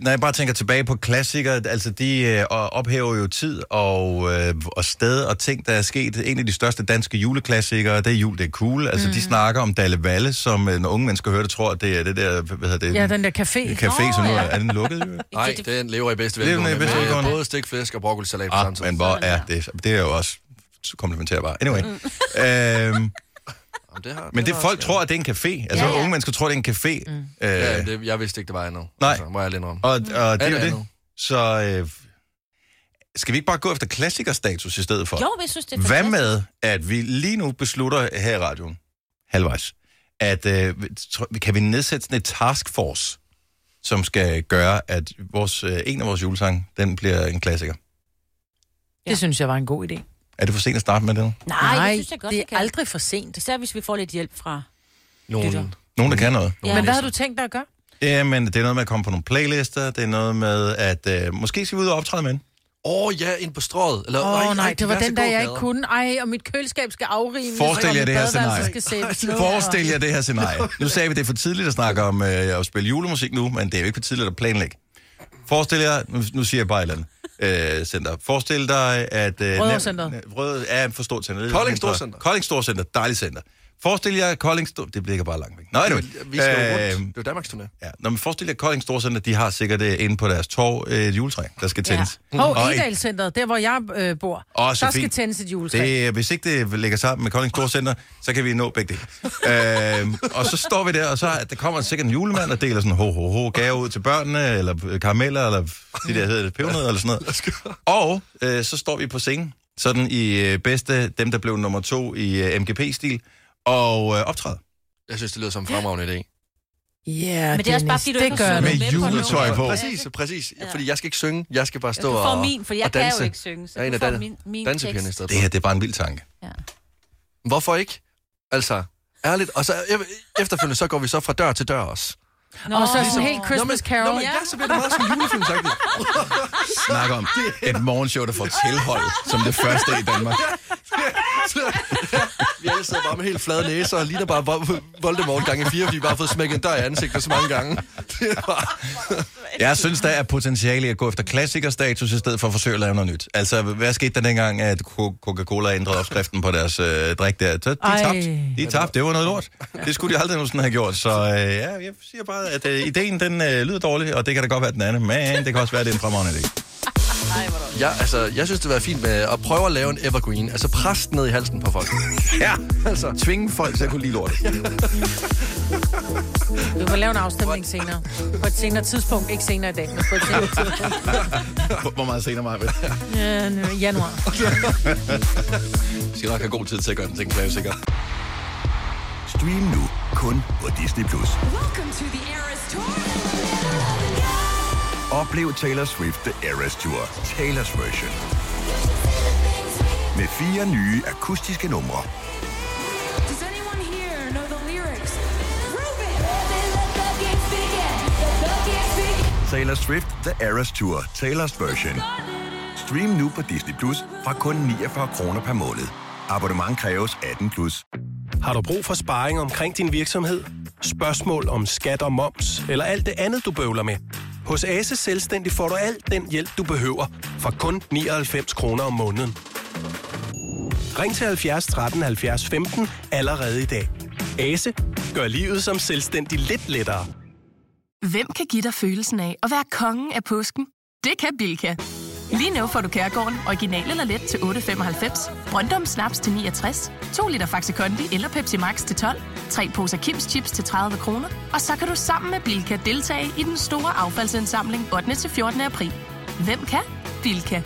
A: når jeg bare tænker tilbage på klassikere, altså de øh, ophæver jo tid og, øh, og sted og ting, der er sket. En af de største danske juleklassikere, det er Jul, det er cool. Altså mm. de snakker om Dalle Valle, som øh, når unge mennesker hører det, tror, at det er det der, hvad hedder det?
B: ja, den der café.
A: café, som nu
D: Nå,
A: er,
D: ja.
A: er den lukket. Ah, i øvrigt?
C: Nej,
D: det-
C: den lever i bedste
A: Lever i
C: velgående.
A: bedste
C: Med
A: velgående.
C: både stikflæsk og broccolisalat på
A: Ah,
C: samme tid.
A: men hvor er det? Det er jo også komplementerbar. Anyway. øhm,
C: Jamen, det har,
A: men det
C: har
A: folk
C: også-
A: tror, at det er en café. Altså
D: Ja, ja.
A: unge mennesker tror, det er en café. Mm. Øh,
C: Ja, ja, det, jeg vidste ikke, det var endnu.
A: Nej.
C: Altså, må jeg lige om.
A: Og, og det er jo
C: det
A: det.
C: andet?
A: Så øh, skal vi ikke bare gå efter klassikerstatus i stedet for?
D: Jo, vi synes, det er
A: Hvad
D: fantastisk.
A: med, at vi lige nu beslutter her i radioen, halvvejs, at øh, tr- kan vi nedsætte sådan et taskforce, som skal gøre, at vores, øh, en af vores julesange, den bliver en klassiker.
B: Det synes jeg var en god idé.
A: Er det for sent at starte med det nu?
D: Nej, jeg synes, jeg godt,
B: det
D: vi
B: er
D: kan.
B: aldrig for sent.
D: Især hvis vi får lidt hjælp fra...
C: Nogen.
A: Nogen, der kan noget.
D: Ja.
B: Men hvad har du tænkt dig at gøre?
A: Jamen, det er noget med at komme på nogle playlister, det er noget med, at øh, måske skal vi ud og optræde med en.
C: Åh oh, ja, ind på strået. Eller,
B: Åh oh,
C: "Ej,
B: nej,
C: ej,
B: det var
C: diverse
B: den, der jeg ikke
C: gågader."
B: kunne. Ej, og mit køleskab skal afrimes.
A: Forestil
B: og
A: jer
B: mit
A: det her scenarie.
B: badeværelse Skal sættes ned,
A: Forestil jer det her scenarie. Nu sagde vi, det er for tidligt at snakke om øh, at spille julemusik nu, men det er jo ikke for tidligt at planlægge. Forestil jer, nu, nu siger jeg bare et eller andet, øh, center. Forestil dig, at... Øh,
B: Rødovrecenteret.
A: nem- Rød er for stort center. Lidt
C: Kolding
A: mindre.
C: Storcenter.
A: Kolding Storcenter, dejligt center. Forestil jer, Kolding Stor... Det ligger bare langt væk. Nå, anyway.
C: Vi skal jo
A: Øh,
C: rundt. Det var Danmarks turné.
A: Ja. Når man forestiller jer, Kolding Storcenter, de har sikkert øh, inde på deres torv øh, et juletræ, der skal tændes.
B: Og, og
A: Og et-
B: Egedalcenteret, der hvor jeg øh, bor,
A: Åh,
B: der
A: Sofie.
B: skal tændes et juletræ. Det...
A: Det, er- hvis ikke det ligger sammen med Kolding Storcenter, så kan vi nå begge dele. øhm, og så står vi der, og så er- der kommer sikkert en julemand og deler sådan ho, ho, ho, gave ud til børnene, eller øh, karameller, eller det der hedder det, pebernødder, eller sådan noget. Og øh, så står vi på scenen, sådan i øh, bedste, dem der blev nummer to i øh, MGP-stil, og øh, optræder.
C: Jeg synes, det lyder som en fremragende idé.
B: Yeah,
D: Men det er også bare, fordi du ikke har
B: det.
A: Med
D: sunget med på
A: juletøj
D: nogen.
A: på.
C: Præcis, præcis.
D: Ja.
C: Fordi jeg skal ikke synge. Jeg skal bare
D: Ja,
C: stå
D: Du får
C: og,
D: min, for jeg
C: og
D: kan
C: danse.
D: jo ikke synge, så
C: Jeg er en
D: du
C: af
D: får
C: dan-
D: min, min
C: dansepigerne i
D: tekst.
C: stedet
A: Det
C: for.
A: her, det er bare en vild tanke.
C: Hvorfor ikke? Altså, ærligt. Og så e- efterfølgende, så går vi så fra dør til dør også.
B: Nå, og så er det sådan helt Christmas Carol.
C: Nå, men ja, så bliver det meget som julefilm, sagt.
A: Snak om et morgenshow, der får tilhold som det første i Danmark.
C: Vi alle sidder bare med helt flade næser og ligner bare Vol- Voldemort gange fire, fordi vi bare har fået smækket en dør i ansigtet så mange gange. Det er bare...
A: Jeg synes, der er potentiale i at gå efter klassikerstatus, i stedet for at forsøge at lave noget nyt. Altså, hvad skete der dengang, at Co- Coca-Cola ændrede opskriften på deres øh, drik der? Så De
B: Ej.
A: tabte. De tabte. Det var noget lort. Det skulle de aldrig nogensinde have gjort. Så øh, ja, jeg siger bare, at øh, ideen den øh, lyder dårlig, og det kan da godt være den anden, men det kan også være, at det er en fremragende idé.
C: Ja, altså, jeg synes, det var fint med at prøve at lave en evergreen. Altså, pres ned i halsen på folk.
A: Ja,
C: Altså.
A: tvinge folk til at kunne lide lortet.
B: Vi må lave en afstemning senere. På et senere tidspunkt. Ikke senere i dag, men på et senere tidspunkt.
A: Hvor- Hvor meget senere, Marvind?
B: Øh, nu- januar.
A: Vi skal nok have god tid til at gøre den ting klar, sikkert.
E: Stream nu kun på Disney+. Plus. Oplev Taylor Swift The Eras Tour, Taylor's version. Med fire nye akustiske numre. Taylor Swift The Eras Tour, Taylor's version. Stream nu på Disney Plus fra kun 49 kroner per måned. Abonnement kræves 18 plus.
H: Har du brug for sparring omkring din virksomhed? Spørgsmål om skat og moms, eller alt det andet, du bøvler med? Hos Ase Selvstændig får du alt den hjælp, du behøver, for kun 99 kroner om måneden. Ring til 70 13 70 15 allerede i dag. Ase gør livet som selvstændig lidt lettere.
I: Hvem kan give dig følelsen af at være kongen af påsken? Det kan Bilka! Lige nu får du Kærgården original eller let til 8.95, Brøndum Snaps til 69, 2 liter Faxi Kondi eller Pepsi Max til 12, 3 poser Kims Chips til 30 kroner, og så kan du sammen med Bilka deltage i den store affaldsindsamling 8. til 14. april. Hvem kan? Bilka.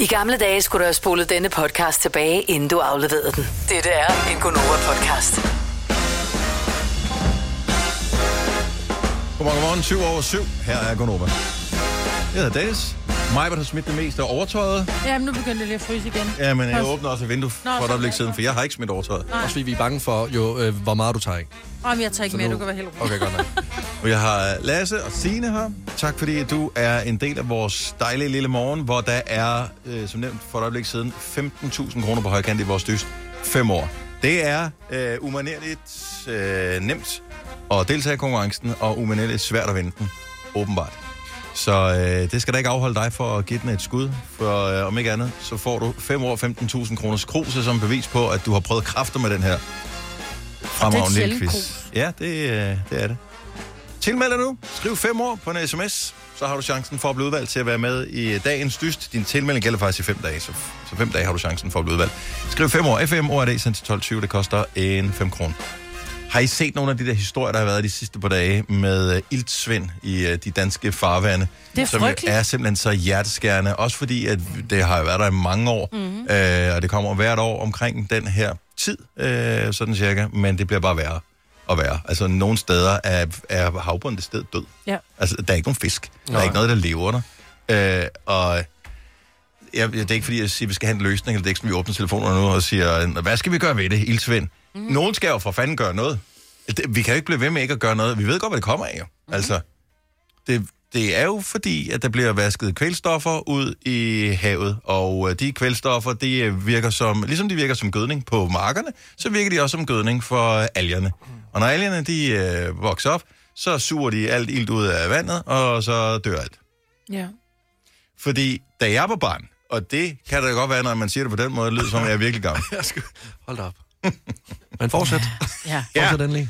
F: I gamle dage skulle du have spolet denne podcast tilbage, inden du afleverede den. Dette er en Gonova-podcast.
A: Godmorgen, godmorgen. 7 over 7. Her er Gunova. Jeg hedder Dennis. Majbert har smidt det meste af overtøjet.
B: Jamen, nu begynder det lige at fryse igen.
A: Ja, men jeg
B: Pas.
A: åbner også et vindue for
B: Nå,
A: et
B: så-
A: øjeblik siden, for jeg har ikke smidt overtøjet.
C: Også fordi vi er bange for, jo, øh, hvor meget du tager, ikke?
B: Åh, men jeg tager ikke med,
C: nu-
B: du kan være helt rolig.
C: Okay, godt nok.
A: Og jeg har Lasse og Signe her. Tak fordi at du er en del af vores dejlige lille morgen, hvor der er, øh, som nævnt for et øjeblik siden, 15.000 kroner på højkant i vores dyst. 5 år. Det er øh, umanerligt øh, nemt at deltage i konkurrencen, og umanerligt svært at vinde den, åbenbart. Så øh, det skal da ikke afholde dig for at give den et skud, for øh, om ikke andet, så får du 5 år 15.000 kroners kruse som bevis på, at du har prøvet kræfter med den her fremragende lille
B: sjælden
A: quiz.
B: krus.
A: Ja, det, øh, det er det. Tilmeld dig nu. Skriv 5 år på en sms, så har du chancen for at blive udvalgt til at være med i dagens dyst. Din tilmelding gælder faktisk i 5 dage, så, så 5 dage har du chancen for at blive udvalgt. Skriv 5 år FM ORD sendt til 12.20, det koster en 5 kroner. Har I set nogle af de der historier, der har været de sidste par dage med uh, iltsvind i uh, de danske farvande?
B: Det er
A: som
B: frygteligt.
A: er simpelthen så hjerteskærende, også fordi at det har jo været der i mange år, mm-hmm.
B: Mhm.
A: uh, og det kommer hvert år omkring den her tid, uh, sådan cirka, men det bliver bare værre og værre. Altså, nogle steder er, er havbunden det sted død.
B: Ja.
A: Altså, der er ikke nogen fisk. Der er ikke noget, der lever der. Øh, og jeg, det er ikke fordi, jeg siger, at vi skal have en løsning, eller det er ikke, som vi åbner telefonerne nu og siger, hvad skal vi gøre ved det, ildsvind? Mm. Nogen skal jo for fanden gøre noget. Det, vi kan jo ikke blive ved med ikke at gøre noget. Vi ved godt, hvad det kommer af, jo. Mm. Altså, det, det, det er jo fordi, at der bliver vasket kvælstoffer ud i havet, og øh, de kvælstoffer, de øh, virker som, ligesom de virker som gødning på markerne, så virker de også som gødning for øh, algerne. Og når algerne, de øh, vokser op, så suger de alt ilt ud af vandet, og så dør alt.
B: Ja.
A: Fordi da jeg var barn, og det kan da godt være, når man siger det på den måde, det lyder som, om jeg er virkelig gammel.
C: Jeg skal... Hold da op. Men fortsæt.
B: Ja.
C: Fortsæt endelig.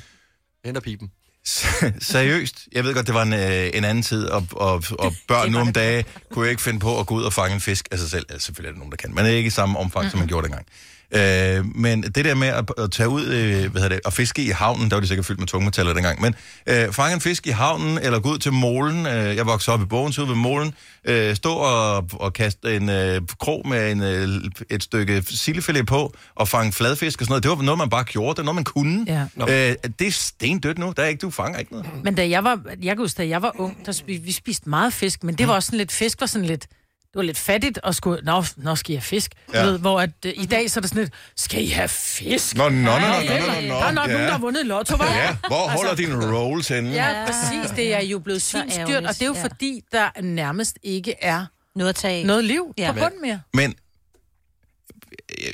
C: Henter pipen.
A: Seriøst. Jeg ved godt, det var en, øh, en anden tid, og, og, og børn nu om dage kunne jo ikke finde på at gå ud og fange en fisk af sig selv. Altså, selvfølgelig er det nogen, der kan, men ikke i samme omfang, mm. som man gjorde dengang. Øh, men det der med at, at tage ud øh, hvad hedder det, og fiske i havnen, der var de sikkert fyldt med tungmetaller dengang, men øh, fange en fisk i havnen, eller gå ud til målen, øh, jeg voksede op i Bogens ude ved målen, øh, stå og, og kaste en øh, krog med en, øh, et stykke sildefilet på, og fange fladfisk og sådan noget, det var noget, man bare gjorde, det var noget, man kunne.
B: Ja.
A: Øh, det er stendødt nu, der er ikke, du fanger ikke noget.
B: Men da jeg var, jeg kan huske, da jeg var ung, der spi, vi spiste meget fisk, men det var også sådan lidt, fisk var sådan lidt, det var lidt fattigt at skulle, nå, nå skal I have fisk?
A: Ja.
B: Ja. Ved, hvor at, øh, i dag så er det sådan lidt, skal I have fisk?
A: Nå, nå, nå, nå, nå,
B: Ej,
A: nå, nå, nå.
B: Der er nok
A: Ja.
B: nogen, der har vundet i lotto, var?
A: Ja, hvor holder altså, din rolls henne?
B: Ja, præcis. Det er jo blevet
D: Så
B: svinstyrt,
D: ærgerligt,
B: og det er jo
D: ja.
B: ja. fordi, der nærmest ikke er
D: Noget at tage af.
B: noget liv
D: Ja.
B: ja. på bunden mere.
A: Men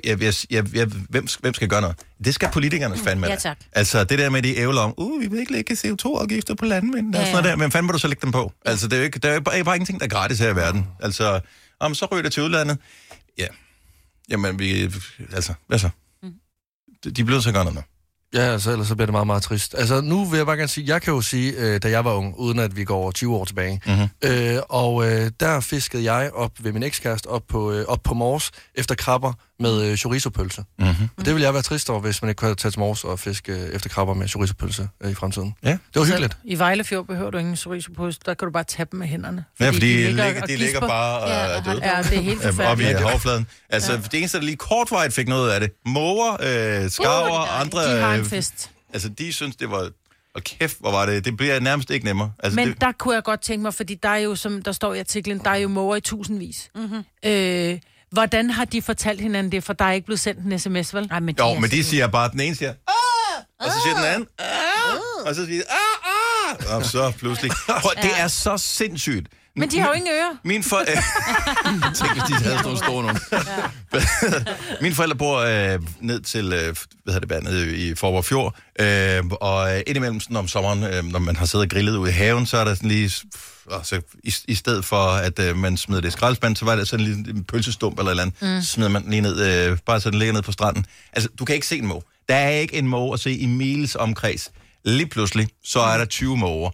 A: jeg, jeg, jeg, jeg, hvem, hvem skal gøre noget? Det skal politikerne fandme.
D: Ja,
A: da.
D: tak.
A: Altså, det der med, de ævler om, uh, vi vil ikke lægge CO2-afgifter på landmændene, ja, og
D: Ja,
A: sådan
D: ja.
A: noget der. Hvem fanden må du så lægge dem på? Altså, det er jo ikke, der er jo bare, bare ingenting, der er gratis her i verden. Altså, om så ryger det til udlandet. Ja. Jamen, vi... Altså, hvad så? De de bliver så gøre noget nu.
C: Ja, altså, ellers så bliver det meget, meget trist. Altså, nu vil jeg bare gerne sige, jeg kan jo sige, øh, da jeg var ung, uden at vi går over 20 år tilbage,
A: Mhm.
C: øh, og øh, der fiskede jeg op ved min ekskæreste op på, øh, op på Mors efter krabber med øh, chorizo-pølse.
A: Mm-hmm.
C: Og det ville jeg være trist over, hvis man ikke kunne tage til Mors og fiske øh, efter krabber med chorizo-pølse øh, i fremtiden.
A: Ja.
C: Det var hyggeligt.
B: I Vejlefjord behøver du ingen chorizo der kan du bare tabe dem med hænderne.
A: Ja, fordi de ligger,
B: og
A: de ligger
B: gisper.
A: bare og
D: Ja, og
A: er
D: har
A: døde.
B: Ja, det er helt
A: øh, op i
B: forfærdeligt.
A: havfladen. Altså, ja. det eneste, der lige kortvarigt fik noget af det, måger, øh, skarver,
D: nej,
A: uh, andre...
B: De har en
A: øh,
B: fest.
A: Altså, de synes, det var... Og kæft, hvor var det... Det bliver nærmest ikke nemmere. Altså,
B: Men
A: det,
B: der kunne jeg godt tænke mig, fordi der er jo, som der står i artiklen, der er jo måger i tusindvis. Mm-hmm. Øh, hvordan har de fortalt hinanden det? For der er ikke blevet sendt en sms, vel?
D: Nej, men
A: jo, men de siger bare... Den ene siger... Ah! Og så siger den anden... Ah! Og så siger de... Ah, ah! Og så pludselig... Prøv, det er så sindssygt.
B: Men de har jo ingen ører.
A: Min for... Tænk, hvis de havde sådan nogle store altså nogen. Mine forældre bor øh, ned til, øh, hvad hedder det, bare nede i Forborg Fjord, øh, og øh, indimellem sådan om sommeren, øh, når man har siddet og grillet ude i haven, så er der sådan lige, pff, altså, i, i stedet for at øh, man smider det i skraldespand, så var der sådan lige en pølsestump eller et eller andet, mm. smider man den lige ned, øh, bare så den ligger ned på stranden. Altså, du kan ikke se en måge. Der er ikke en måge at se i miles omkreds. Lige pludselig, så er der 20 måger.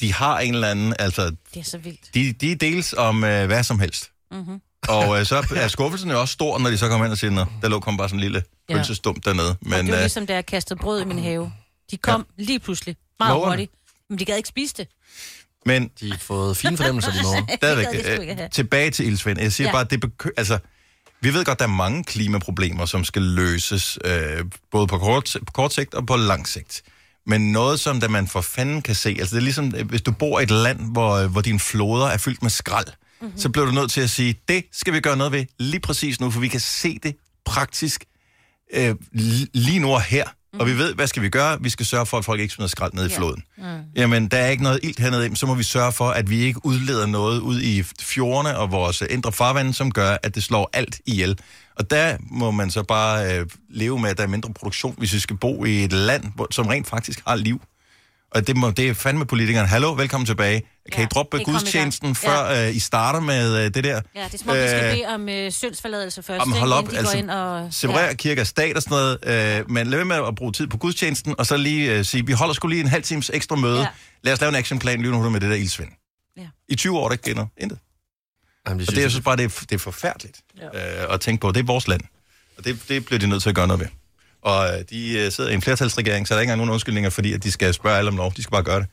A: De har en eller anden, altså,
D: Det er så vildt.
A: de, de deles om øh, hvad som helst. Mm-hmm. Og øh, så er skuffelsen jo også stor, når de så kommer hen og siger, "Nå, der lå kom bare sådan en lille
B: Ja.
A: pølsestump dernede.
D: Men,
A: Men
D: det var
A: øh,
D: ligesom, da jeg kastede brød i min have. De kom ja. lige pludselig. Meget
A: Mågerne?
D: hurtigt. Men de gad ikke spise det.
A: men
C: De har fået fine fornemmelser, de måger.
A: stadigvæk,
D: Det skal du ikke
A: øh,
D: have.
A: tilbage til ildsvind. Jeg siger ja.
D: Ja.
A: bare, det bekø- altså, vi ved godt, der er mange klimaproblemer, som skal løses, øh, både på kort, på kort sigt og på lang sigt. Men noget, som da man for fanden kan se, altså det er ligesom, øh, hvis du bor i et land, hvor, øh, hvor dine floder er fyldt med skrald, mm-hmm. så bliver du nødt til at sige, det skal vi gøre noget ved lige præcis nu, for vi kan se det praktisk øh, li- lige nu og her. Mm. Og vi ved, hvad skal vi gøre? Vi skal sørge for, at folk ikke smider skrald ned i floden. Mm. Jamen, der er ikke noget ilt hernede, jamen, så må vi sørge for, at vi ikke udleder noget ud i fjordene og vores øh, indre farvande, som gør, at det slår alt ihjel. Og der må man så bare øh, leve med, at der er mindre produktion, hvis vi skal bo i et land, hvor, som rent faktisk har liv. Og det, må, det er fandme politikerne. Hallo, velkommen tilbage. Kan ja,
D: Ja,
A: I droppe
D: I kom i gang.
A: gudstjenesten,
D: Ja.
A: før øh, I starter med øh, det der?
D: Ja, det er som om, vi skal
A: Øh,
D: bede om øh, syndsforladelse først,
A: Jamen,
D: ikke?
A: hold op,
D: inden de
A: altså,
D: går ind og...
A: separere ja. kirke og stat og sådan noget, øh, men lad være med at bruge tid på gudstjenesten, og så lige øh, sige, vi holder sgu lige en halv times ekstra møde. Ja.
D: Ja.
A: Lad os lave en actionplan lige nu med det der ildsvind. Ja.
D: Ja.
A: I 20 år, er der ikke sker noget. Intet.
C: Jamen, de
A: Og det, jeg
C: synes,
A: synes bare, det er, det er forfærdeligt ja. øh, at tænke på. Det er vores land, og det, det bliver de nødt til at gøre noget ved. Og øh, de øh, sidder i en flertalsregering, så der er ikke engang nogen undskyldninger, fordi at de skal spørge alle om lov. De skal bare gøre det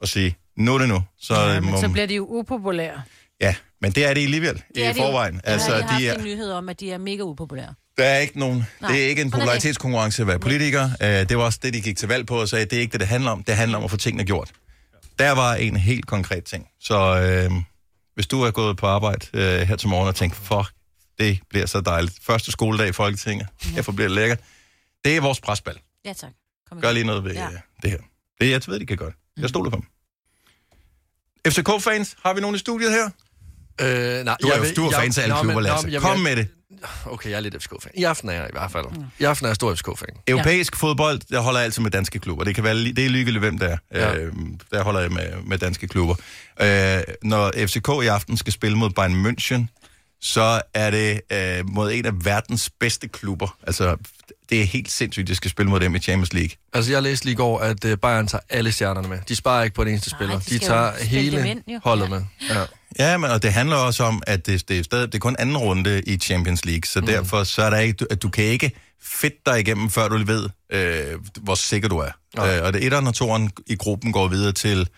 A: og sige, nu er det nu. Så, ja,
B: Ja,
A: må,
B: men
A: så
B: så bliver de jo upopulære.
A: ja, men det er det alligevel
D: er
A: i
D: det jo.
A: forvejen.
D: Ja,
A: altså,
D: jeg har
A: de er,
D: haft en nyhed om, at de er mega upopulære.
A: Der er ikke nogen. Nej,
D: Nej,
A: det er ikke en
D: sådan er det.
A: popularitetskonkurrence at være politiker. Øh, Det var også det, de gik til valg på og sagde, det er ikke det, det handler om. Det handler om at få tingene gjort. Der var en helt konkret ting. Så øh, hvis du er gået på arbejde øh, her til morgen og tænkt, fuck, det bliver så dejligt. Første skoledag i Folketinget.
D: Mhm.
A: Derfor bliver det lækkert. Det er vores presbal.
D: Ja, tak. Kom i
A: Gør
D: gang.
A: lige noget ved øh, ja.
D: Ja. Mhm.
A: det her. Det, jeg ved, de kan godt. Jeg stoler på dem. FCK-fans, har vi nogen i studiet her?
C: Øh, nej,
A: Du er
C: jeg
A: jo-
C: ved-
A: du er
C: jeg-
A: fan til alle
C: Nå, men-
A: klubber,
C: nå,
A: Lasse.
C: men jeg-
A: Kom
C: jeg-
A: med det.
C: Okay, jeg er lidt FCK-fan. I aften er jeg i hvert fald. I aften er jeg stor FCK-fan.
A: Europæisk ja. fodbold, der holder jeg altid med danske klubber. Det kan være li- det er ligegyldigt, hvem det er. Ja.
C: Ja.
A: Øh, der holder jeg med, med danske klubber. Øh, når FCK i aften skal spille mod Bayern München, så er det øh, mod en af verdens bedste klubber. Altså, det er helt sindssygt, at de skal spille mod dem i Champions League.
C: Altså, jeg læste lige i går, at øh, Bayern tager alle stjernerne med. De sparer ikke på den eneste spiller.
D: de
C: de,
D: skal jo
C: tager
D: spille dem
C: hele
D: ind, jo.
C: holdet
D: Ja.
C: med. Ja.
A: Ja, men og det handler også om, at det, det, er, stadig, det er kun anden runde i Champions League, så mm. derfor så er der ikke, du- at du kan ikke fedt dig igennem, før du ved, øh, hvor sikker du er. Øh, og det etteren og toeren i gruppen går videre til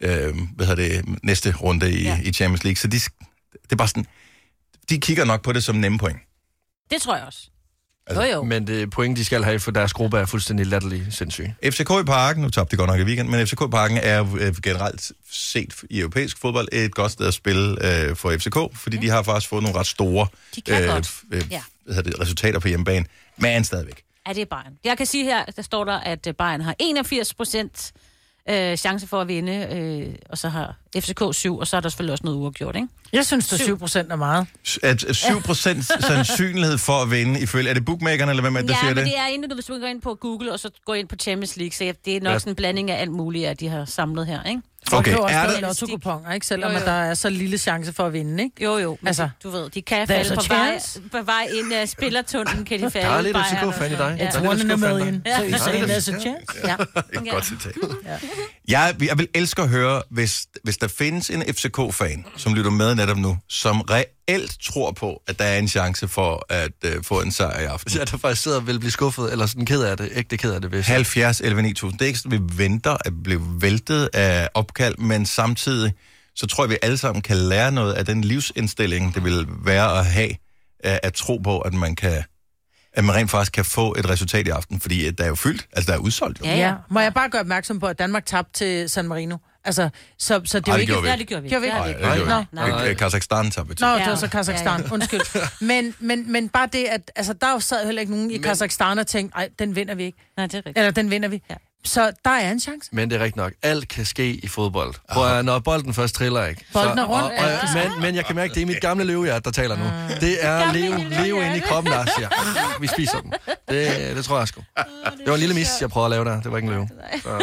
A: øh, hvad hedder det, næste runde i, ja. i Champions League. Så de, sk- det er bare sådan, de kigger nok på det som nemme point.
D: Det tror jeg også.
A: Altså,
D: jo, jo.
C: Men det point, de skal have, for deres gruppe er fuldstændig latterlig sindssyg.
A: FCK i parken, nu tabte de godt nok i weekend, men FCK i parken er øh, generelt set i europæisk fodbold et godt sted at spille øh, for FCK, fordi de har faktisk fået nogle ret store
D: De kan godt.
A: f- øh,
D: Ja.
A: hvad hedder det, resultater på hjemmebane, men stadigvæk.
D: Ja, det er Bayern. Jeg kan sige her, der står der, at øh, Bayern har 81 procent øh, chance for at vinde, øh, og så har FCK 7, og så er der selvfølgelig også noget uafgjort, ikke?
B: Jeg synes, det 7 procent er meget.
A: S- At at 7% sandsynlighed for at vinde, ifølge, er det bookmakerne, eller hvem er det, der
D: ja,
A: siger
D: men
A: det?
D: det er inden du, hvis du går ind på Google, og så går ind på Champions League, så det er nok
C: Ja.
D: sådan en blanding af alt muligt, at de har samlet her, ikke?
A: Okay,
B: Det er også
A: er
B: er
A: der,
B: en lotto-kupon, ikke? Selvom
D: Jo,
B: jo,
D: jo.
B: jo. At der er så lille chance for at vinde, ikke?
D: Jo, jo, men altså,
B: Altså,
D: du ved, de kan
B: there's
D: falde
B: a
D: på vej,
B: chance.
D: på vej ind af spillertunden, kan de falde.
C: Der er lidt
D: Bayern og
C: FCK-fan i
D: sådan.
C: dig.
D: Ja.
C: Der er
B: One
C: lidt
B: in a
C: FCK-fan i dig.
B: million.
C: Ja.
B: Så you say there's a chance?
D: Ja.
A: Et
D: Ja.
A: godt citat. Jeg, jeg vil elske at høre, hvis, hvis der findes en FCK-fan, som lytter med netop nu, som reelt tror på, at der er en chance for at øh, få en sejr i aften.
C: Jeg der faktisk sidder og vil blive skuffet, eller sådan ked af det, ægte ked af det, hvis...
A: 70, 11, 9000. Det er ikke sådan, at vi venter at blive væltet af opkald, men samtidig så tror jeg, vi alle sammen kan lære noget af den livsindstilling, det vil være at have, at, at tro på, at man kan at man rent faktisk kan få et resultat i aften, fordi at der er jo fyldt, altså der er udsolgt jo.
D: Ja, ja.
B: Ja, må jeg bare gøre opmærksom på, at Danmark tabte til San Marino? Altså, så, så det
A: Ej,
B: er jo
A: det
B: ikke...
A: gjorde vi
D: Ja,
A: ikke.
D: det gjorde vi.
B: Gjorde vi ikke?
D: Ja,
A: Nej,
D: det
A: det
D: gjorde vi.
A: gjorde vi
D: Nej,
A: ikke.
D: nej.
A: Øh, Kazakhstan tabte til.
B: Nå, det
D: Ja.
B: var så Kazakhstan,
D: Ja, ja.
B: undskyld. Men, men, men bare det, at altså, der sad heller ikke nogen i Kazakhstan og tænkte, nej, den vinder vi ikke.
D: Nej, det er rigtigt.
B: Eller den vinder vi.
D: Ja.
B: Så der er en chance.
C: Men det er rigtigt nok. Alt kan ske i fodbold. Prøv at, høre, når bolden først triller, ikke?
B: Bolden er rundt,
C: og,
B: ja.
C: og, men, men jeg kan mærke, det er mit gamle løvehjert, der taler nu.
D: Ah.
C: Det er leve, leve inde i kroppen, der siger, "Ah, vi spiser den. Det, det tror jeg sgu.
D: Ah,
C: Det var en lille mis, jeg prøvede at lave der. Det var ikke en løve.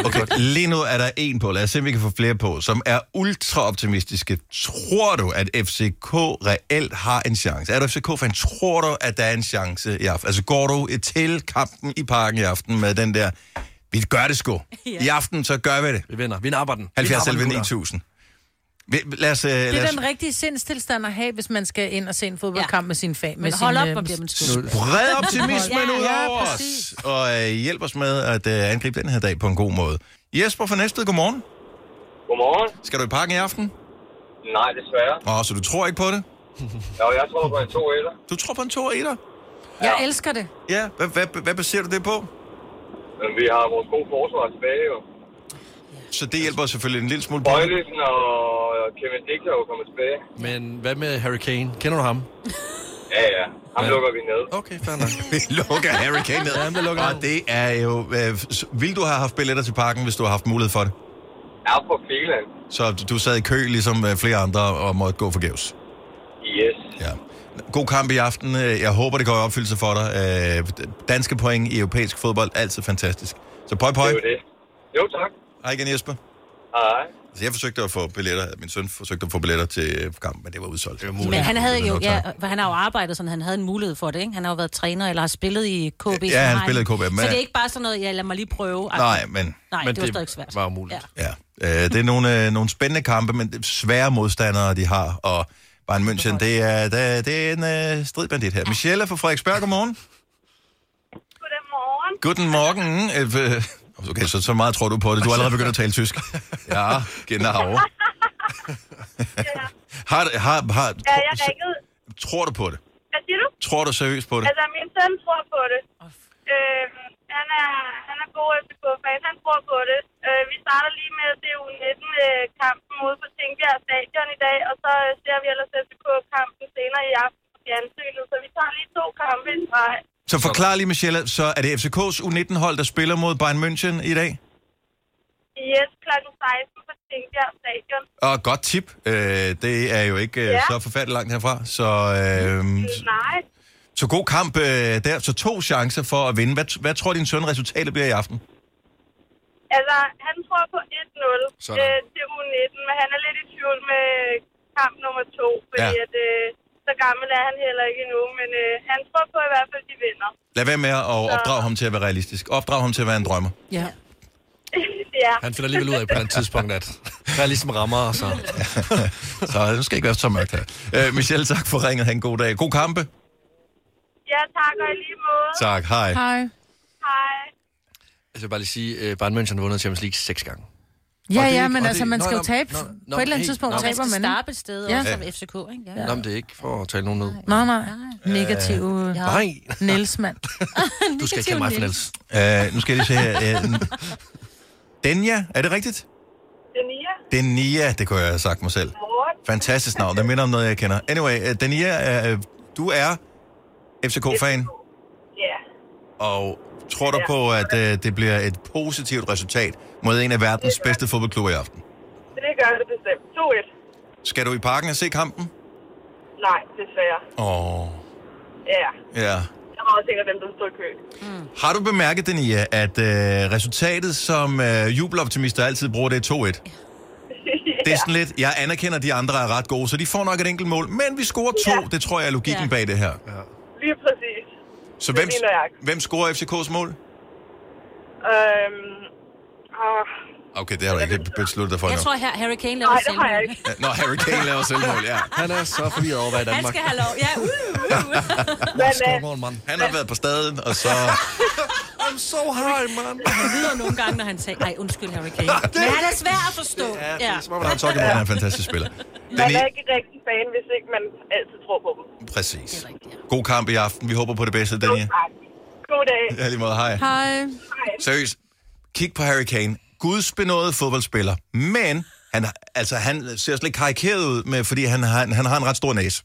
A: Okay, lige nu er der en på, lad os se, om vi kan få flere på, som er ultra optimistiske. Tror du, at FCK reelt har en chance? Er du FCK-fan? Tror du, at der er en chance i aften? Altså går du til kampen i parken i aften med den der, vi gør det sgu. I aften, så gør vi det.
C: Vi vinder. Vi napper den. Vi
A: 70
C: napper den,
A: 11
C: gutter.
A: 9000. Vi- Lad os, øh,
B: Det
A: lad
B: er
A: os
B: den rigtige sindstilstand at have, hvis man skal ind og se en fodboldkamp
D: Ja.
B: ja. med sin fan. Med
D: Men hold
B: sin,
D: op,
B: øh,
D: hvor bliver man skuffet.
A: brede optimismen
D: Ja,
A: ud
D: ja,
A: over os,
D: præcis.
A: og øh, hjælp os med at øh, angribe den her dag på en god måde. Jesper fra Næstved, godmorgen.
J: Godmorgen.
A: Skal du i parken i aften?
J: Nej, desværre.
A: Åh, så du tror ikke på det?
J: Jo, jeg tror på en 2 eller.
A: Du tror på en 2 og 1'er?
B: Jeg elsker det.
A: Ja, hvad, hvad, hvad baserer du det på?
J: Men vi har vores gode forsvar tilbage jo.
A: Så det hjælper os selvfølgelig en lille smule på.
J: Bøjlesen og Kevin Dix er jo kommet tilbage.
C: Men hvad med Harry Kane? Kender du ham?
J: Ja, ja. Ham
C: Ja.
J: lukker vi ned.
C: Okay, fair nok.
A: Vi lukker Harry Kane ned.
C: Jamen, det lukker
A: og
C: han.
A: det er jo... Øh, s- ville du have haft billetter til parken, hvis du har haft mulighed for det?
J: Er på Finland.
A: Så du sad i kø, ligesom øh, flere andre, og måtte gå forgæves.
J: Yes.
A: Ja. God kamp i aften. Øh, Jeg håber, det går i opfyldelse for dig. Øh, Danske point i europæisk fodbold, altid fantastisk. Så pøj
J: Det
A: pøj.
J: er jo det. Jo, tak.
A: Hej igen, Jesper.
J: Hej.
A: Altså, jeg forsøgte at få billetter. Min søn forsøgte at få billetter til øh, kampen, men det var udsolgt. Det var muligt.
D: Men han havde jo, ja, for han har jo arbejdet sådan, han havde en mulighed for det, ikke? Han har jo været træner, eller har spillet i KB. som
A: han
D: har
A: spillede i KB, men-
D: Så det er ikke bare sådan noget, ja, lad mig lige prøve.
A: Nej, men...
D: Nej,
C: Men
D: det var
C: det
D: stadig svært.
C: var umuligt.
A: Ja, øh, det er nogle, øh, nogle spændende kampe, men det er svære modstandere, de har, og Bayern München, det er, det er, det er en øh, stridbandit her. Michelle fra Frederiksberg, godmorgen.
K: Godmorgen.
A: Guten Morgen. Øh, øh, Okay, så, så meget tror du på det. Du er allerede begyndt at tale tysk. Ja, genau. har, har, har,
K: Ja, jeg
A: tro,
K: ringede.
A: tror du på det?
K: Hvad siger du?
A: Tror du seriøst på det?
K: Altså, min søn tror på det. Øh, han er, han er god FCK-fan, han tror på det. Øh, vi starter lige med at se U19-kampen ude på Tingbjerg Stadion i dag, og så øh, ser vi ellers FCK-kampen senere i aften på fjernsynet, så vi tager lige to kampe i streg.
A: Så forklar lige, Michelle, så er det FCK's U19-hold, der spiller mod Bayern München i dag?
K: Yes, kl. 16 på Tingbjerg Stadion.
A: Og godt tip. Øh, det er jo ikke ja.
K: Ja.
A: så forfærdeligt langt herfra. Så, øh,
K: Nej,
A: så god kamp øh, der. Så to chancer for at vinde. Hvad, hvad tror din søn resultatet bliver i aften?
K: altså han tror på 1-0
A: Sådan.
K: øh, til U19, men han er lidt i tvivl med kamp nummer to, fordi
A: Ja.
K: ja. at, øh, så gammel er han heller ikke endnu, men øh, han tror på i hvert fald, de vinder.
A: Lad være med at opdrage ham til at være realistisk. Opdrag ham til at være en drømmer.
B: Ja.
K: ja.
C: Han finder alligevel ud af på et eller andet tidspunkt, at der ligesom rammer og så.
A: så øh, nu skal ikke være så mørkt her. Øh, Michelle, tak for ringet. Ha' en god dag. God kampe.
K: Ja, tak, og i lige måde.
A: Tak. Hej.
B: Hej.
K: Hej.
C: Altså, jeg vil bare lige sige, at Bayern München har vundet Champions League seks gange.
B: Ja,
C: Og det er
B: ja,
C: ikke-
B: men
C: og
B: altså,
C: det-
B: man
C: Nå,
B: skal jo
C: nå,
B: tabe.
C: nå,
B: På
C: nå,
B: et eller andet
C: hey.
B: tidspunkt
C: Nå,
B: taber
D: skal
B: man.
D: starte et sted,
B: Ja.
D: ja. også som FCK, ikke? Ja.
C: Nå, men det er ikke for at tale nogen ned.
B: Nej, nej. Negativ øh,
C: Nej.
B: Niels, mand.
C: Du skal ikke kalde mig for Niels.
A: Øh, nu skal jeg lige se her. Øh, Denja, er det rigtigt?
K: Dania?
A: Denia, det kunne jeg have sagt mig selv. Fantastisk navn. Det minder om noget, jeg kender. Anyway, øh, Denia, øh, du er FCK-fan,
K: Ja.
A: og tror du på, at øh, det bliver et positivt resultat mod en af verdens bedste fodboldklubber i aften?
K: Det gør det bestemt. 2-1.
A: Skal du i parken og se kampen?
K: Nej, desværre.
A: Åh, oh,
K: Ja.
A: ja.
K: Jeg var også en af dem, der stod i kø.
A: Har du bemærket, Denia, at øh, resultatet, som øh, jubeloptimister altid bruger, det er 2-1? Det er sådan lidt, jeg anerkender, at de andre er ret gode, så de får nok et enkelt mål, men vi scorer to. Det tror jeg er logikken
K: Ja.
A: bag det her.
K: Lige præcis.
A: Så
K: Det
A: hvem,
K: mener jeg.
A: hvem scorer FCK's mål?
K: Øhm, og...
A: Okay, det har du ikke besluttet dig for
D: Jeg
A: endnu.
D: tror, her Harry Kane laver
K: Nej, det har jeg
D: selv.
K: ikke.
A: Ja, Nå, Harry Kane laver selvmål, ja.
C: Han er så forvirret over, hvad
D: Han skal have lov. Ja, uh, uh, uh.
A: Han har været på staden, og så...
C: I'm so high, man.
D: Han lyder nogle gange, når han siger, nej, undskyld, Harry Kane. Men han er svær at forstå. Ja, det
C: ligesom
D: er, som
A: Nå, Tokki er en fantastisk spiller.
K: Man
A: Den
K: er
A: i...
K: ikke rigtig fan, hvis ikke man altid tror på dem.
A: Præcis. God kamp i aften. Vi håber på det bedste, Daniel.
K: Tak. God dag.
A: Ja, lige måde. Hej.
B: Hej.
A: Seriøst, kig på Harry Kane. Gudsbenået fodboldspiller, men han, altså, han ser slet ikke karikeret ud, med, fordi han har, han har en ret stor næse.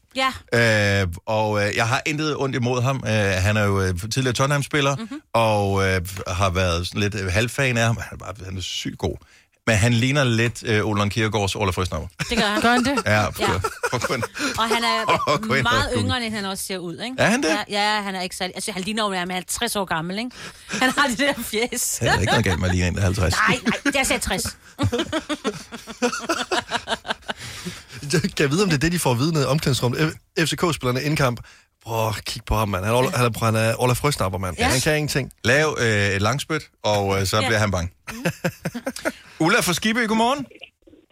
D: Ja.
A: Øh, og øh, jeg har intet ondt imod ham. Øh, han er jo øh, tidligere Tottenham-spiller, mm-hmm. og øh, har været sådan lidt øh, halvfan af ham. Han er, bare, han er sygt god. Men han ligner lidt øh, Olan Kiergaards Ola Frøsnapper.
D: det gør han.
B: Gør han det?
A: Ja, for, ja. for kun.
D: Og han er
A: Og gå ind og
D: meget
A: google.
D: yngre, end han også ser ud, ikke?
A: Er han det?
D: Ja, ja han er ikke særlig... Altså, han ligner jo, at han er 50 år gammel, ikke? Han har det der fjes.
A: Det er ikke noget galt med at ligne en, der er 50.
D: Nej, nej, jeg sagde 60.
C: Kan jeg vide, om det er det, de får at vide nede i omklædningsrummet? F- FCK-spillerne indkamp. Prøv at kigge på ham, mand. Han er, Ola- han er, han er Ola Frøsnapper, mand.
A: Ja.
C: Han kan ingenting.
A: Lav øh, et langspyt, og øh, så
C: Ja.
A: bliver han bange. Ulla fra Skibø, godmorgen.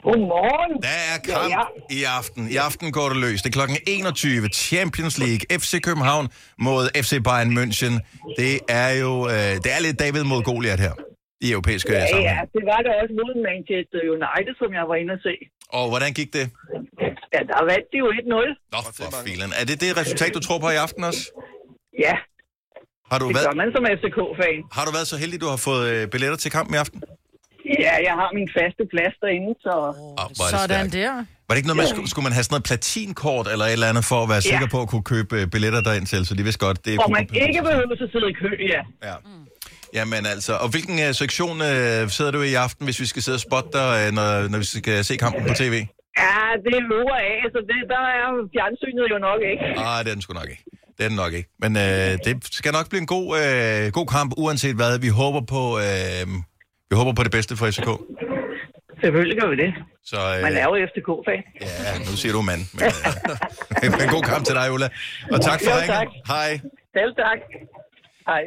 L: Godmorgen.
A: Der er kamp ja, ja. i aften. I aften går det løs. Det er klokken 21. Champions League. FC København mod FC Bayern München. Det er jo øh, det er lidt David mod Goliath her. I europæiske ja,
L: Ja, ja,
A: sammenhæng.
L: det var det også mod Manchester United, som jeg var inde og se.
A: Og hvordan gik det?
L: Ja, der vandt de jo 1-0.
A: Nå, for filen. Er det det resultat, du tror på i aften også?
L: Ja,
A: Har du,
L: det
A: været,
L: gør man som FCK-fan.
A: har du været så heldig, du har fået øh, billetter til kampen i aften?
L: Ja, jeg har min faste plads derinde, så...
A: Oh, hvor er det Sådan stærkt.
B: der.
A: Var det ikke noget, man skulle, skulle man have sådan noget platinkort eller et eller andet, for at være
L: Ja.
A: sikker på at kunne købe øh, billetter derind til? Så de vidste godt, det
L: Hvor
A: kunne
L: man ikke behøver at sidde i kø, ja.
A: Ja. Jamen altså, og hvilken uh, sektion uh, sidder du i i aften, hvis vi skal sidde og spotte dig, uh, når, når vi skal se kampen på tv?
L: Ja, det er øvre af, så det, der er fjernsynet jo nok ikke.
A: Ah, det er den sgu nok ikke. Det er den nok ikke. Men uh, det skal nok blive en god, uh, god kamp, uanset hvad. Vi håber på, uh, vi håber på det bedste for FCK.
L: Selvfølgelig gør vi det.
A: Så, uh,
L: Man er jo FCK-fan.
A: ja, nu siger du mand. Men, uh, men god kamp til dig, Ulla. Og tak for
L: Jo,
A: ringen.
L: tak.
A: Hej.
L: Selv tak. Hej.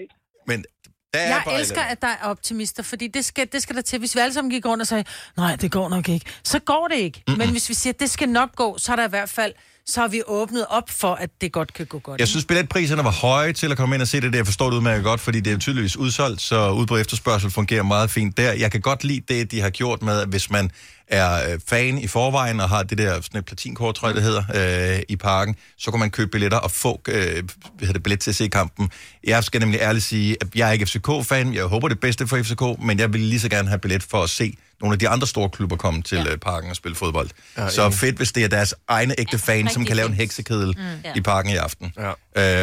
A: Men der er
B: Jeg
A: bare et
B: elsker,
A: eller
B: at der er optimister, fordi det skal, det skal der til. Hvis vi alle sammen gik rundt og sagde, nej, det går nok ikke, så går det ikke. Mm-mm. Men hvis vi siger, det skal nok gå, så er der i hvert fald, så har vi åbnet op for, at det godt kan gå godt.
A: Jeg synes, billetpriserne var høje til at komme ind og se det der. Jeg forstår det udmærket godt, fordi det er tydeligvis udsolgt, så udbud og efterspørgsel fungerer meget fint der. Jeg kan godt lide det, de har gjort med, at hvis man er øh, fan i forvejen og har det der sådan et platinkort, tror jeg, det hedder, øh, i parken, så kan man købe billetter og få øh, hvad hedder det, billet til at se kampen. Jeg skal nemlig ærligt sige, at jeg er ikke FCK-fan. Jeg håber det bedste for FCK, men jeg vil lige så gerne have billet for at se nogle af de andre store klubber komme til ja. parken og spille fodbold.
C: Ja,
A: Ja, så
C: enig.
A: fedt, hvis det er deres egne ægte fans, som
D: rigtige
A: kan lave en
D: fans.
A: heksekedel
D: Mm.
A: mm.
D: Ja.
A: i parken i aften. Ja.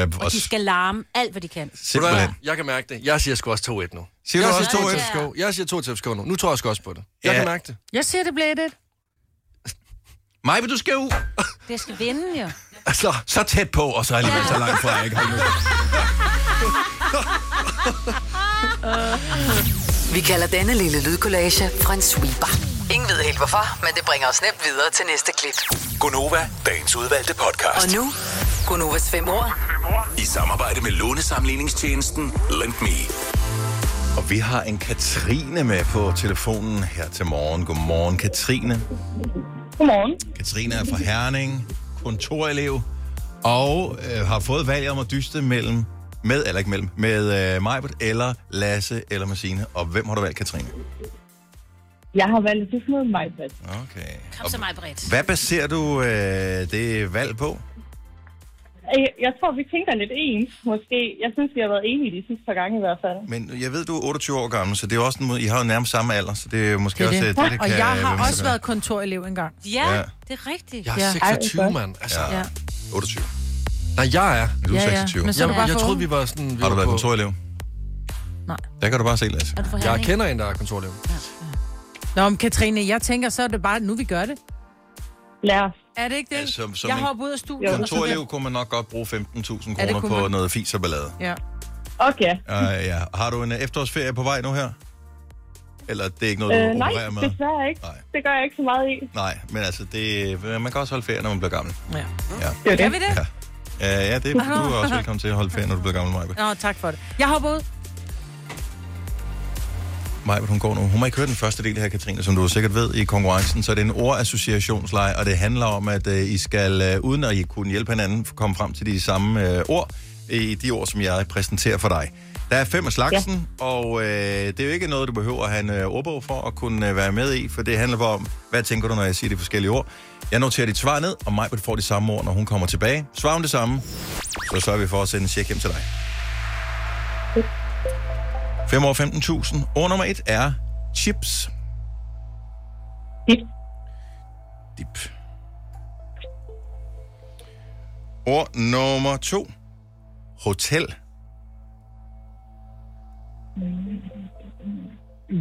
A: Øh, og
D: Og de skal larme alt, hvad de kan.
A: Simpelthen.
D: Ja.
C: Jeg kan mærke det. Jeg siger sgu også 2-1 nu.
A: Siger
C: jeg
A: du også
C: siger
A: 2-1?
C: til FCK. Jeg siger 2 til FCK nu. Nu tror jeg sgu også på det. Jeg
A: Ja.
C: kan mærke det.
B: Jeg siger, det bliver det.
A: Maj, vil du skal ud?
D: Det skal vinde, jo.
A: Altså, så tæt på, og så alligevel så langt fra, ikke? Hold nu.
F: Vi kalder denne lille lydkollage Frans sweeper. Ingen ved helt hvorfor, men det bringer os nemt videre til næste klip.
M: Gonova, dagens udvalgte podcast.
F: Og nu, Gunovas fem år.
M: I samarbejde med lånesamligningstjenesten Lend Me.
A: Og vi har en Katrine med på telefonen her til morgen. Godmorgen, Katrine.
N: Godmorgen.
A: Katrine er fra Herning, kontorelev, og øh, har fået valget om at dyste mellem, med eller ikke mellem, med øh, Majbert eller Lasse eller Massine. Og hvem har du valgt, Katrine?
N: Jeg har valgt det med mig, Britt.
A: Okay.
D: Kom så mig, Britt.
A: Hvad baserer du øh, det valg på?
N: Jeg- Jeg tror, vi tænker lidt ens, måske. Jeg synes, vi har været enige de sidste par gange i hvert fald.
A: Men jeg ved, du er 28 år gammel, så det er jo også en, måde- I har jo nærmest samme alder, så det er måske
B: Det er
A: også
B: det.
A: øh, det, det
B: og
A: kan
B: jeg
A: være
B: har
A: med
B: også
A: sig.
B: været kontorelev engang.
D: Ja,
A: Ja.
D: det er rigtigt.
C: Jeg er 26, mand. Altså,
A: Ja.
B: Ja.
A: 28.
C: Nej, jeg er.
A: Du er
B: Ja, ja.
A: 26.
B: Men så er du
C: Jeg,
B: bare
C: jeg
B: for
C: troede,
B: ung.
C: vi var sådan... Vi
A: Har du
C: var
A: været
C: på-
A: kontorelev?
B: Nej.
A: Der kan du bare se, Lasse.
B: Er du fra
C: Jeg
B: Herning?
C: kender en, der er kontorelev.
B: Nå, men Katrine, jeg tænker, så er det bare nu, vi gør det.
N: Lad os.
B: Er det ikke det?
A: Ja, som- som
B: jeg
A: en
B: hopper ud af studiet. og så-
A: Kontorelev kunne man nok godt bruge 15.000
B: Ja, det
A: kroner
B: kunne
A: på
B: man.
A: noget fis og ballade.
B: Ja.
N: Okay.
A: Uh, ja. Har du en øh, efterårsferie på vej nu her? Eller det er ikke noget, du
N: Øh, nej,
A: opererer med?
N: desværre ikke. Nej. Det gør jeg ikke så meget i.
A: Nej, men altså, det, man kan også holde ferie, når man bliver gammel.
B: Ja.
A: ja.
B: Gør vi det?
A: Ja. Uh, ja, det er, du er også velkommen til at holde ferie, når du bliver gammel, Majbert.
B: Nå, tak for det. Jeg hopper ud.
A: Majbert, hun går nu. Hun må ikke høre den første del her, Katrine, som du sikkert ved i konkurrencen. Så er det en ordassociationsleje, og det handler om, at øh, I skal, øh, uden at I kunne hjælpe hinanden, komme frem til de samme øh, ord, i de ord, som jeg præsenterer for dig. Der er fem af slagsen, ja. og øh, det er jo ikke noget, du behøver at have en øh, ordbog for at kunne øh, være med i, for det handler bare om, hvad tænker du, når jeg siger de forskellige ord. Jeg noterer dit svar ned, og Majbert får de samme ord, når hun kommer tilbage. Svarer hun det samme, så sørger vi for at sende en check hjem til dig. 5 år 15.000. Ord nummer et er chips.
N: Dip.
A: Dip. Ord nummer to. Hotel.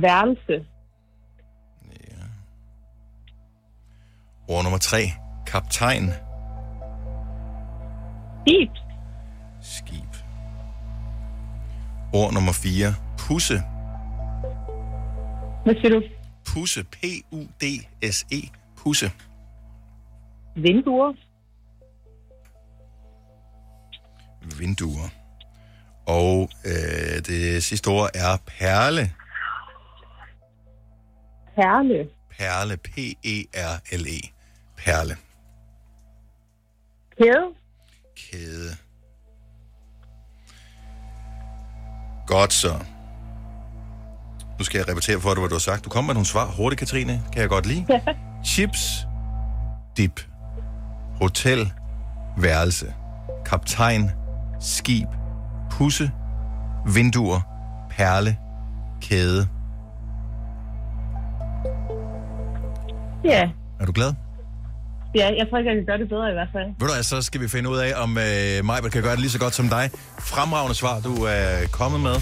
N: Værelse.
A: Ord nummer tre. Kaptajn.
N: Dip.
A: Skib. Ord nummer fire. Pusse.
N: Hvad siger du?
A: Pusse. P-U-D-S-E. E. Pusse.
N: Vinduer.
A: Vinduer. Og øh, det sidste ord er perle.
N: Perle.
A: Perle. E P-E-R-L-E. Perle.
N: Kæde.
A: kæde. Godt så. Nu skal jeg repetere for dig, hvad du har sagt. Du kom med nogle svar hurtigt, Katrine. Kan jeg godt lide. Chips, dip, hotel, værelse, kaptajn, skib, pusse, vinduer, perle, kæde.
N: Ja.
A: Er du glad?
N: Ja, jeg tror ikke, jeg kan gøre det bedre i hvert fald.
A: Ved du hvad, så skal vi finde ud af, om øh, Majbert kan gøre det lige så godt som dig. Fremragende svar, du er kommet med.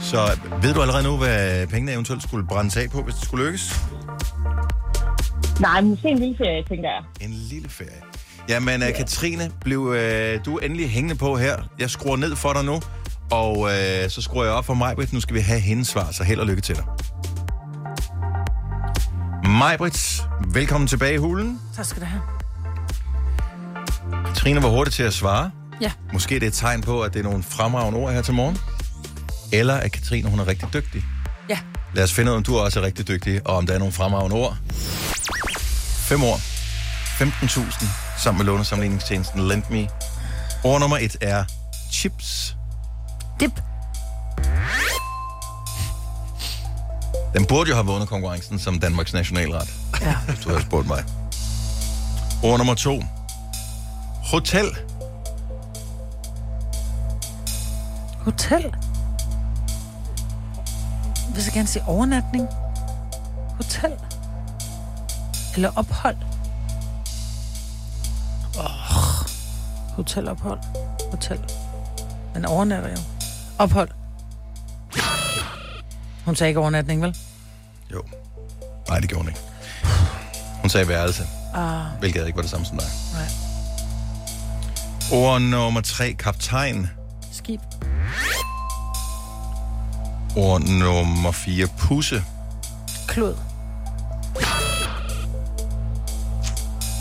A: Så ved du allerede nu, hvad pengene eventuelt skulle brændes af på, hvis det skulle lykkes?
N: Nej, måske en lille ferie, tænker jeg.
A: En lille ferie. Jamen, øh, Katrine, blev øh, du er endelig hængende på her. Jeg skruer ned for dig nu, og øh, så skruer jeg op for Majbrit. Nu skal vi have hendes svar, så held og lykke til dig. Majbrit, velkommen tilbage i hulen.
B: Tak skal du have.
A: Katrine var hurtig til at svare.
B: Ja.
A: Måske det er et tegn på, at det er nogle fremragende ord her til morgen. Eller at Katrine, hun er rigtig dygtig.
B: Ja.
A: Lad os finde ud, om du også er rigtig dygtig, og om der er nogle fremragende ord. Fem år. 15.000 sammen med lånesamligningstjenesten LendMe. Ord nummer et er chips.
B: Dip.
A: Den burde jo have vundet konkurrencen som Danmarks nationalret,
B: Ja.
A: hvis du havde spurgt mig. Ord nummer to. Hotel.
B: Hotel. Jeg vil så gerne sige overnatning. hotel. Eller ophold. Oh, hotelophold. Hotel. Man overnatter jo. Ophold. Hun sagde ikke overnatning, vel?
A: Nej, det gjorde hun ikke. Hun sagde værelse,
B: Ah,
A: hvilket ikke var det samme som dig.
B: nej.
A: Ord nummer tre, kaptajn.
B: Skib.
A: Ord nummer fire, pusse.
B: Klod.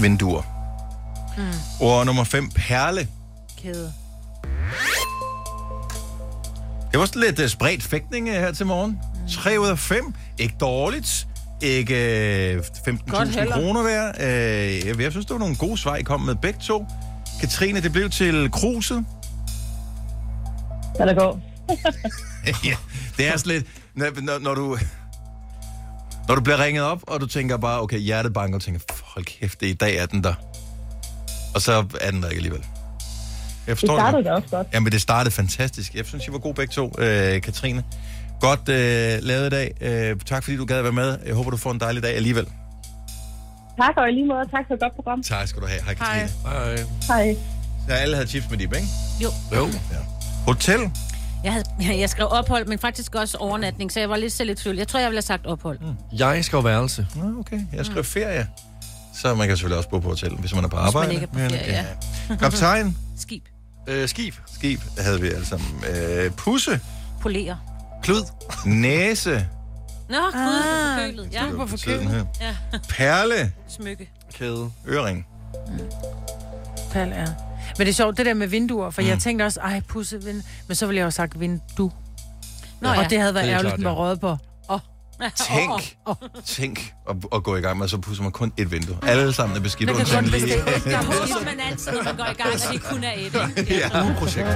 A: Vinduer.
B: Mm.
A: Ord nummer fem, perle.
B: Kæde.
A: Det var sådan lidt uh, spredt fægtning øh, her til morgen. 3 ud af 5. Ikke dårligt. Ikke øh, 15.000
B: heller.
A: kroner hver. Øh, jeg, jeg synes, det var nogle gode svar, I kom med begge to. Katrine, det blev til kruset.
N: Hvad der går.
A: ja, det er sådan lidt... Når, når, når du... Når du bliver ringet op, og du tænker bare, okay, hjertet banker, og tænker, hold kæft, det er i dag er den der. Og så er den der ikke alligevel. Jeg
N: Det
A: forstår
N: startede
A: godt.
N: da også godt.
A: Jamen, det startede fantastisk. Jeg synes, I var gode begge to, øh, Katrine. Godt øh, lavet i dag. Øh, tak, fordi du gad at være med. Jeg håber, du får en dejlig dag alligevel.
N: Tak, og i lige måde tak for et godt program.
A: Tak skal du have. Hej, Katrine. Hej.
C: Øh,
N: Hej.
A: Så alle havde chips med dip, ikke?
D: Jo.
A: Jo. Ja. Hotel?
D: Jeg, havde, jeg skrev ophold, men faktisk også overnatning, så jeg var lidt selv i tvivl. Jeg tror, jeg ville have sagt ophold. Mm.
A: Jeg skal værelse. Nå, okay. Jeg skrev ferie. Så man kan selvfølgelig også bo på hotel, hvis man er på
D: Hvis man
A: arbejde.
D: ikke er på
A: Men,
D: ferie, ja.
A: Kaptajn?
D: Skib.
A: Øh, skib. Skib havde vi alle sammen. Øh, pusse.
D: Polere.
A: Klud. Næse.
D: Nå, gud, ah, forkølet. Ja.
A: var forkølet. Sådan
D: Ja.
A: Perle.
D: Smykke.
A: Kæde. Øring.
B: Pal, ja. Men det er sjovt, det der med vinduer, for mm. jeg tænkte også, ej, pusse vind. Men så ville jeg jo have sagt vindu. Nå, ja. Og det
A: Det
B: havde været det
A: er
B: ærgerligt,
A: klart,
B: med
A: ja.
B: røget på. Oh.
A: Tænk,
B: Oh,
A: tænk at, at gå i gang med, så pudser man kun et vindue. Alle sammen er beskidt.
D: Man kan
A: undtagen
D: kun
A: lige-
D: bestemme. Der håber man altid, når man går i gang, at det kun er et. ikke?
A: ja, projekt.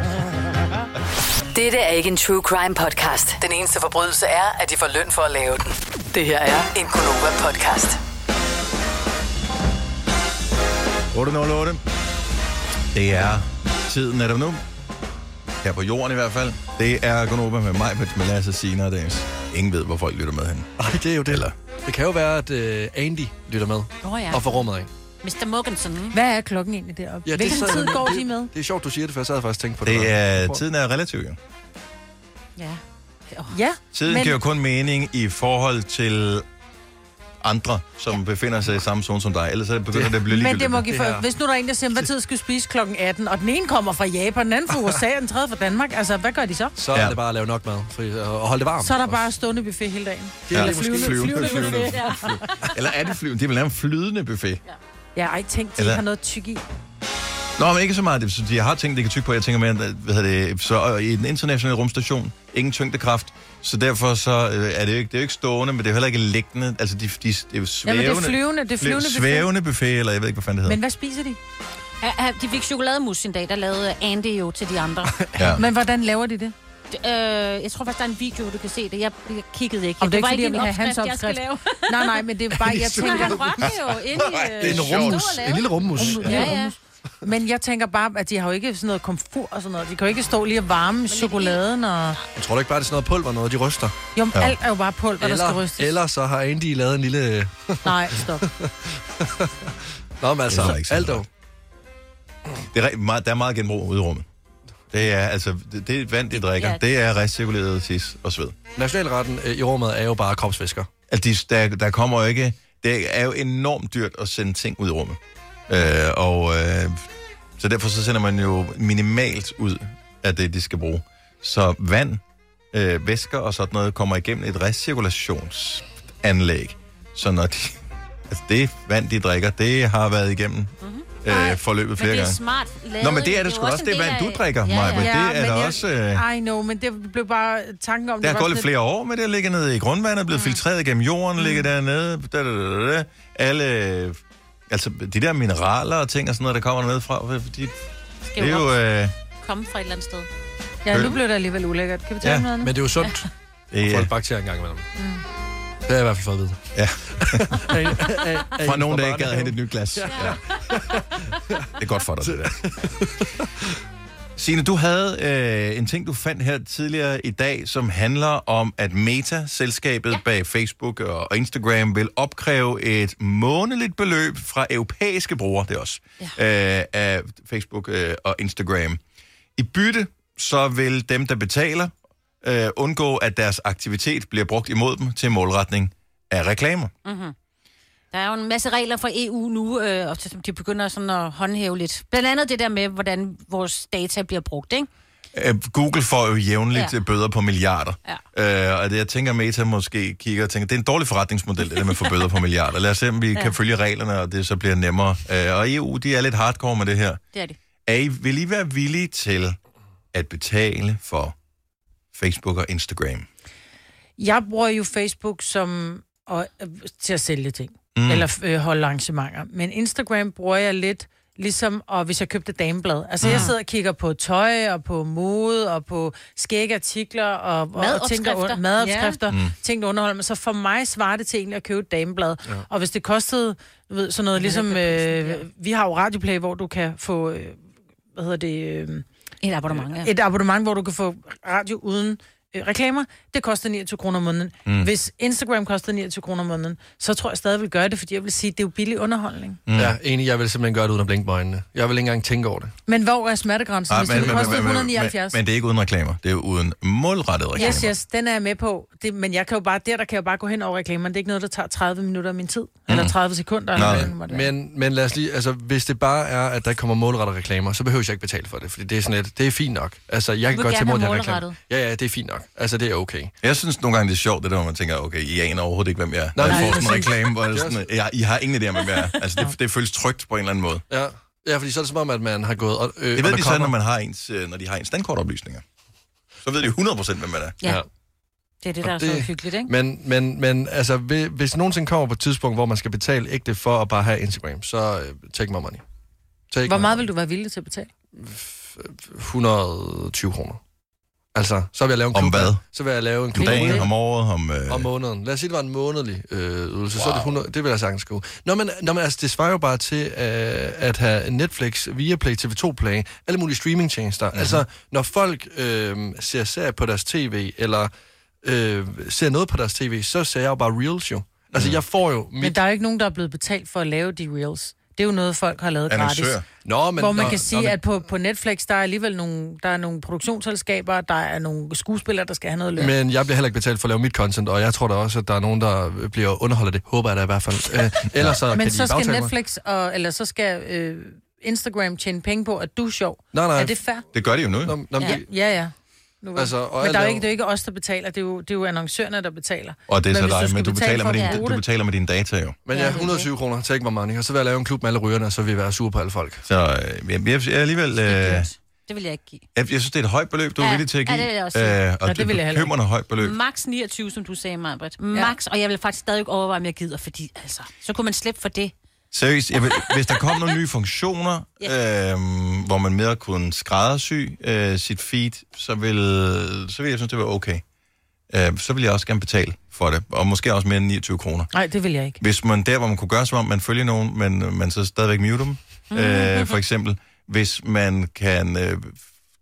F: Dette er ikke en true crime podcast. Den eneste forbrydelse er, at de får løn for at lave den. Det her er en Gunova podcast.
A: 808. Det er tiden netop nu. Her på jorden i hvert fald. Det er Gunnova med mig, med Lasse, Sina og Dennis. Ingen ved, hvor folk lytter med henne.
C: Nej, det er jo det. Eller. Det kan jo være, at uh, Andy lytter med.
D: Åh, ja.
C: Og får rummet af.
D: Mr. Morganson.
B: Hvad er klokken egentlig deroppe? Ja, Hvilken
C: sad
B: tid
C: jeg-
B: går
C: det,
B: de med?
C: Det er sjovt, du siger det, for jeg sad faktisk og tænkte på det.
A: Det er,
C: Prøv.
A: tiden er relativ, jo.
D: Ja.
B: Ja.
A: Tiden Men... giver jo kun mening i forhold til andre, som ja. befinder sig i samme zone som dig. Ellers så begynder det, det at blive
B: Men
A: ligegyldigt.
B: det må give for, hvis nu der er en, der siger, hvad tid skal vi spise klokken 18, og den ene kommer fra Japan, den anden fra USA, og den tredje fra Danmark, altså hvad gør de så?
C: Så er det bare at lave nok mad for, øh, og holde det varmt.
B: Så er der bare stående buffet hele dagen.
A: Det er
B: Eller
A: måske flyvende, flyvende,
B: buffet.
A: Eller er det flyvende? Det er vel nærmest flydende buffet.
B: Ja, ej, tænk, de
A: Eller-
B: har noget tyk i.
A: Nå, men ikke så meget. Det, så jeg har tænkt, det kan tykke på. Jeg tænker mere, at, hvad hedder det, så øh, i den internationale rumstation, ingen tyngdekraft. Så derfor så øh, er det jo ikke, det er jo ikke stående, men det er jo heller ikke liggende. Altså, de, de, det er jo svævende.
B: flyvende, det er
A: Fly-
B: flyvende buffet.
A: Svævende buffet, eller jeg ved ikke, hvad fanden det hedder.
B: Men hvad spiser de?
D: Ja, ja, De fik chokolademus en dag, der lavede Andy jo til de andre.
A: Ja.
B: Men hvordan laver de det?
D: Det, Øh, jeg tror faktisk, der er en video, du kan se det. Jeg, jeg kiggede ikke.
B: Om det,
D: var
B: ikke, fordi jeg
D: en
B: vil have hans
D: jeg skal
B: opskrift.
D: lave.
B: nej, nej, men det er bare,
D: Er de
B: jeg
D: søde?
B: tænker...
D: Han rørte det jo inde i,
B: Nej,
D: øh,
B: det er en
D: stod og
B: rummus.
D: lavede.
B: En lille rummus.
D: Ja,
B: Ja,
D: ja.
B: ja. Men jeg tænker bare, at de har jo ikke sådan noget komfur og sådan noget. De kan jo ikke stå lige og varme chokoladen og...
C: Jeg tror du ikke bare, det er sådan noget pulver, noget de ryster?
B: Jo, men alt er jo bare pulver, der
C: eller,
B: skal rystes.
C: Eller så har Andy lavet en lille...
B: Nej, stop.
C: Nå, men
A: Det lyder
C: altså,
A: ikke sådan
C: alt dog.
A: Det er, rigtig meget, der er meget genbrug ude i rummet. Det er, altså, det, det er vand, de drikker.
C: Ja.
A: Ja. Det er recirkuleret tis og sved.
C: Nationalretten øh, i rummet er jo bare kropsvæsker.
A: at de, der, der kommer jo ikke... Det er jo enormt dyrt at sende ting ud i rummet. Øh, og øh, så derfor så sender man jo minimalt ud af det, de skal bruge. Så vand, øh, væsker og sådan noget kommer igennem et recirkulationsanlæg. Så når de, altså det vand, de drikker, det har været igennem øh, forløbet flere
D: Men det er
A: gange.
D: smart lavet.
A: Nå, men det er det sgu da også. Det er vand, du drikker, Maja. Men det er da også... Øh,
B: I know, men det blev bare tanken
A: der
B: om... det
A: er
B: var
A: gået lidt Mm.
B: sådan
A: flere år med det, ligger nede i grundvandet, blevet filtreret gennem jorden, ligger dernede, da, da, da, da. alle, øh, altså de der mineraler og ting og sådan noget, der kommer dernede fra, de, det
D: Skal
A: er jo, øh,
D: Komme fra et eller andet sted.
B: Ja, nu blev det alligevel ulækkert. Kan vi tage
A: Ja,
B: ja, noget andet?
C: Men det er jo sundt.
A: det
C: Få
A: er,
C: lidt bakterier en gang imellem.
B: Mm.
C: Det har jeg i hvert fald fået at vide.
A: ja.
C: Fra
A: fra nogen, der ikke gad hente et nyt glas. Ja. Det er godt for dig, det der. Signe, du havde øh, en ting, du fandt her tidligere i dag, som handler om, at Meta, selskabet ja. bag Facebook og og Instagram, vil opkræve et månedligt beløb fra europæiske brugere, det er også, ja. øh, af Facebook øh, og Instagram. I bytte, så vil dem, der betaler, øh, undgå, at deres aktivitet bliver brugt imod dem til målretning af reklamer.
D: Mm-hmm. Der er jo en masse regler fra EU nu, øh, og som de begynder sådan at håndhæve lidt. Blandt andet det der med, hvordan vores data bliver brugt, ikke?
A: Øh, Google får jo jævnligt
D: Ja.
A: ja. bøder på milliarder. Ja. Øh, og det, jeg tænker, Meta måske kigger og tænker, det er en dårlig forretningsmodel, det der med at få bøder på milliarder. Lad os se, om vi
D: Ja.
A: ja. kan følge reglerne, og det så bliver nemmere. Øh, og EU, de er lidt hardcore med det her.
D: Det er det.
A: Er I, vil I være villige til at betale for Facebook og Instagram? Ah,
B: Jeg bruger jo Facebook som og, øh, til at sælge ting, mm.
A: Mm.
B: eller øh, holde arrangementer. Men Instagram bruger jeg lidt ligesom, og hvis jeg købte dameblad. Altså, mm. jeg sidder og kigger på tøj, og på mode, og på skægge artikler, og, og- og
D: Madopskrifter.
B: og madopskrifter
D: Ja.
B: mm.
D: Mm.
B: ting, der underholder mig. Så for mig svarer det til egentlig at købe et dameblad. Ja.
D: Ja.
B: Og hvis det kostede, du ved, sådan noget, ligesom, øh, vi har jo Radioplay, hvor du kan få, øh, hvad hedder det... Øh,
D: Et abonnement, ja.
B: Et abonnement, hvor du kan få radio uden øh, reklamer. Det koster 29 kroner om måneden. Mm.
A: Mm.
B: Hvis Instagram koster 29 kroner om måneden, så tror jeg stadig, jeg vil gøre det, fordi jeg vil sige, at det er jo billig underholdning.
C: Mm. Ja, enig, jeg vil simpelthen gøre det uden at blinke med øjnene. Jeg vil ikke engang tænke over det.
B: Men hvor er smertegrænsen? Hvis det koster
A: Ah, men, men,
B: 179?
A: men det er ikke uden reklamer. Det er uden målrettede reklamer.
B: Yes, yes, den er jeg med på. Det, men jeg kan jo bare, der, der kan jeg jo bare gå hen over reklamerne. Det er ikke noget, der tager 30 minutter af min tid. Mm. Eller 30 sekunder. Eller hvad det nu måtte være.
C: Men, men lad os lige, altså, hvis det bare er, at der kommer målrettede reklamer, så behøver jeg ikke betale for det, fordi det er sådan lidt, det er fint nok. Altså, jeg
A: vil
C: kan godt tage
A: gerne
C: imod
A: have
C: den reklame.
A: målrettet.
C: Ja, ja, det er fint nok. Altså, det er okay.
A: Jeg synes nogle gange, det er sjovt, det der, hvor man tænker, okay, I aner overhovedet ikke, hvem jeg er.
C: Nej,
A: Når jeg
C: nej,
A: får sådan en
C: præcis.
A: reklame, hvor det er
C: Det er
A: sådan, jeg, I har ingen idé om, hvem jeg er. Altså, det, det føles trygt på en eller anden måde.
C: Ja. ja, fordi så er det som om, at man har gået... og- Øh,
A: Det ved de så,
C: undercover.
A: når, man har ens, øh, når de har ens standkortoplysninger. Så ved de 100% hvem man er.
D: Ja. Det er det, der er
C: Og
D: så hyggeligt, ikke?
C: Men, men, men altså, hvi- hvis nogensinde kommer på et tidspunkt, hvor man skal betale ægte for at bare have Instagram, så øh, take my money. Take
B: Hvor
C: my-
B: meget vil du være villig til at betale?
C: 120 kroner. Altså, så vil jeg lave en
A: Om
C: klub.
A: hvad?
C: Så vil jeg lave en
A: Om
C: klub.
A: dagen, om året, om... Øh,
C: Om måneden. Lad os sige, det var en månedlig øh, ydelse, wow. så er det 100, det vil jeg sagtens gå. Nå, men, nå, men altså, det svarer jo bare til øh, at have Netflix, Viaplay, TV2 Play, alle mulige streamingtjenester. Mm-hmm. Altså, når folk øh, ser serier på deres tv, eller øh, ser noget på deres tv, så ser jeg jo bare reels jo. Altså, mm. jeg får jo mit...
B: Men der er jo ikke nogen, der er blevet betalt for at lave de reels. Det er jo noget, folk har lavet gratis.
C: Annoncør. Nå, men-
B: hvor man
C: nå,
B: kan
C: nå,
B: sige,
C: men-
B: at på, på Netflix, der er alligevel nogle, der er nogle produktionsselskaber, der er nogle skuespillere, der skal have noget løn. Men...
C: Men jeg bliver heller ikke betalt for at lave mit content, og jeg tror da også, at der er nogen, der bliver underholdt af det. Håber jeg da i hvert fald. Øh, ellers så kan
B: Men
C: de
B: så skal
C: bagtale mig.
B: Netflix, og, eller så skal øh, Instagram tjene penge på, at du er sjov.
C: Nej, nej.
B: Er det fair?
A: Det gør de jo nu.
C: Nå, nå, men
B: ja.
C: det-
B: ja, ja. Nu
C: Altså,
B: altså,
C: og
B: og
C: jeg
B: men der er jo
C: laver-
B: ikke, det er jo ikke os, der betaler. Det er jo, det er jo annoncørerne, der betaler.
A: Og det er så
B: hvis
A: dig,
B: skal
A: men du
B: betale
A: betaler,
B: for
A: med
B: at
A: din,
B: bruge
A: du
B: det-
A: betaler med dine data jo.
C: Men
B: Ja,
C: ja,
B: det er
C: 120 kroner, take my money, og så vil jeg lave en klub med alle rygerne, og så vil jeg være sur på alle folk.
A: Så øh, jeg, jeg, jeg er alligevel... Øh, jeg,
D: Det vil jeg ikke give.
A: jeg synes, det er et højt beløb, du er
D: Ja,
A: villig til at
D: ja,
A: give.
D: det vil jeg også sige.
A: øh,
D: Nå,
A: og
D: det
A: det,
D: vil jeg
A: er
D: heller
A: bekymrende højt beløb.
D: Max 29, som du sagde, Majbrit. Max, ja. og jeg vil faktisk stadig ikke overveje, om jeg gider, fordi altså, så kunne man slippe for det.
A: Seriøst, jeg vil, hvis der kom nogle nye funktioner, yeah. øhm, hvor man mere kunne skræddersy øh, sit feed, så vil, så vil jeg synes, det var okay. Øh, så vil jeg også gerne betale for det, og måske også mere end 29 kroner.
B: Nej, det vil jeg ikke.
A: Hvis man der, hvor man kunne gøre, som om man følger nogen, men øh, man så stadigvæk mute dem,
B: Mhm.
A: øh, for eksempel. Hvis man kan øh,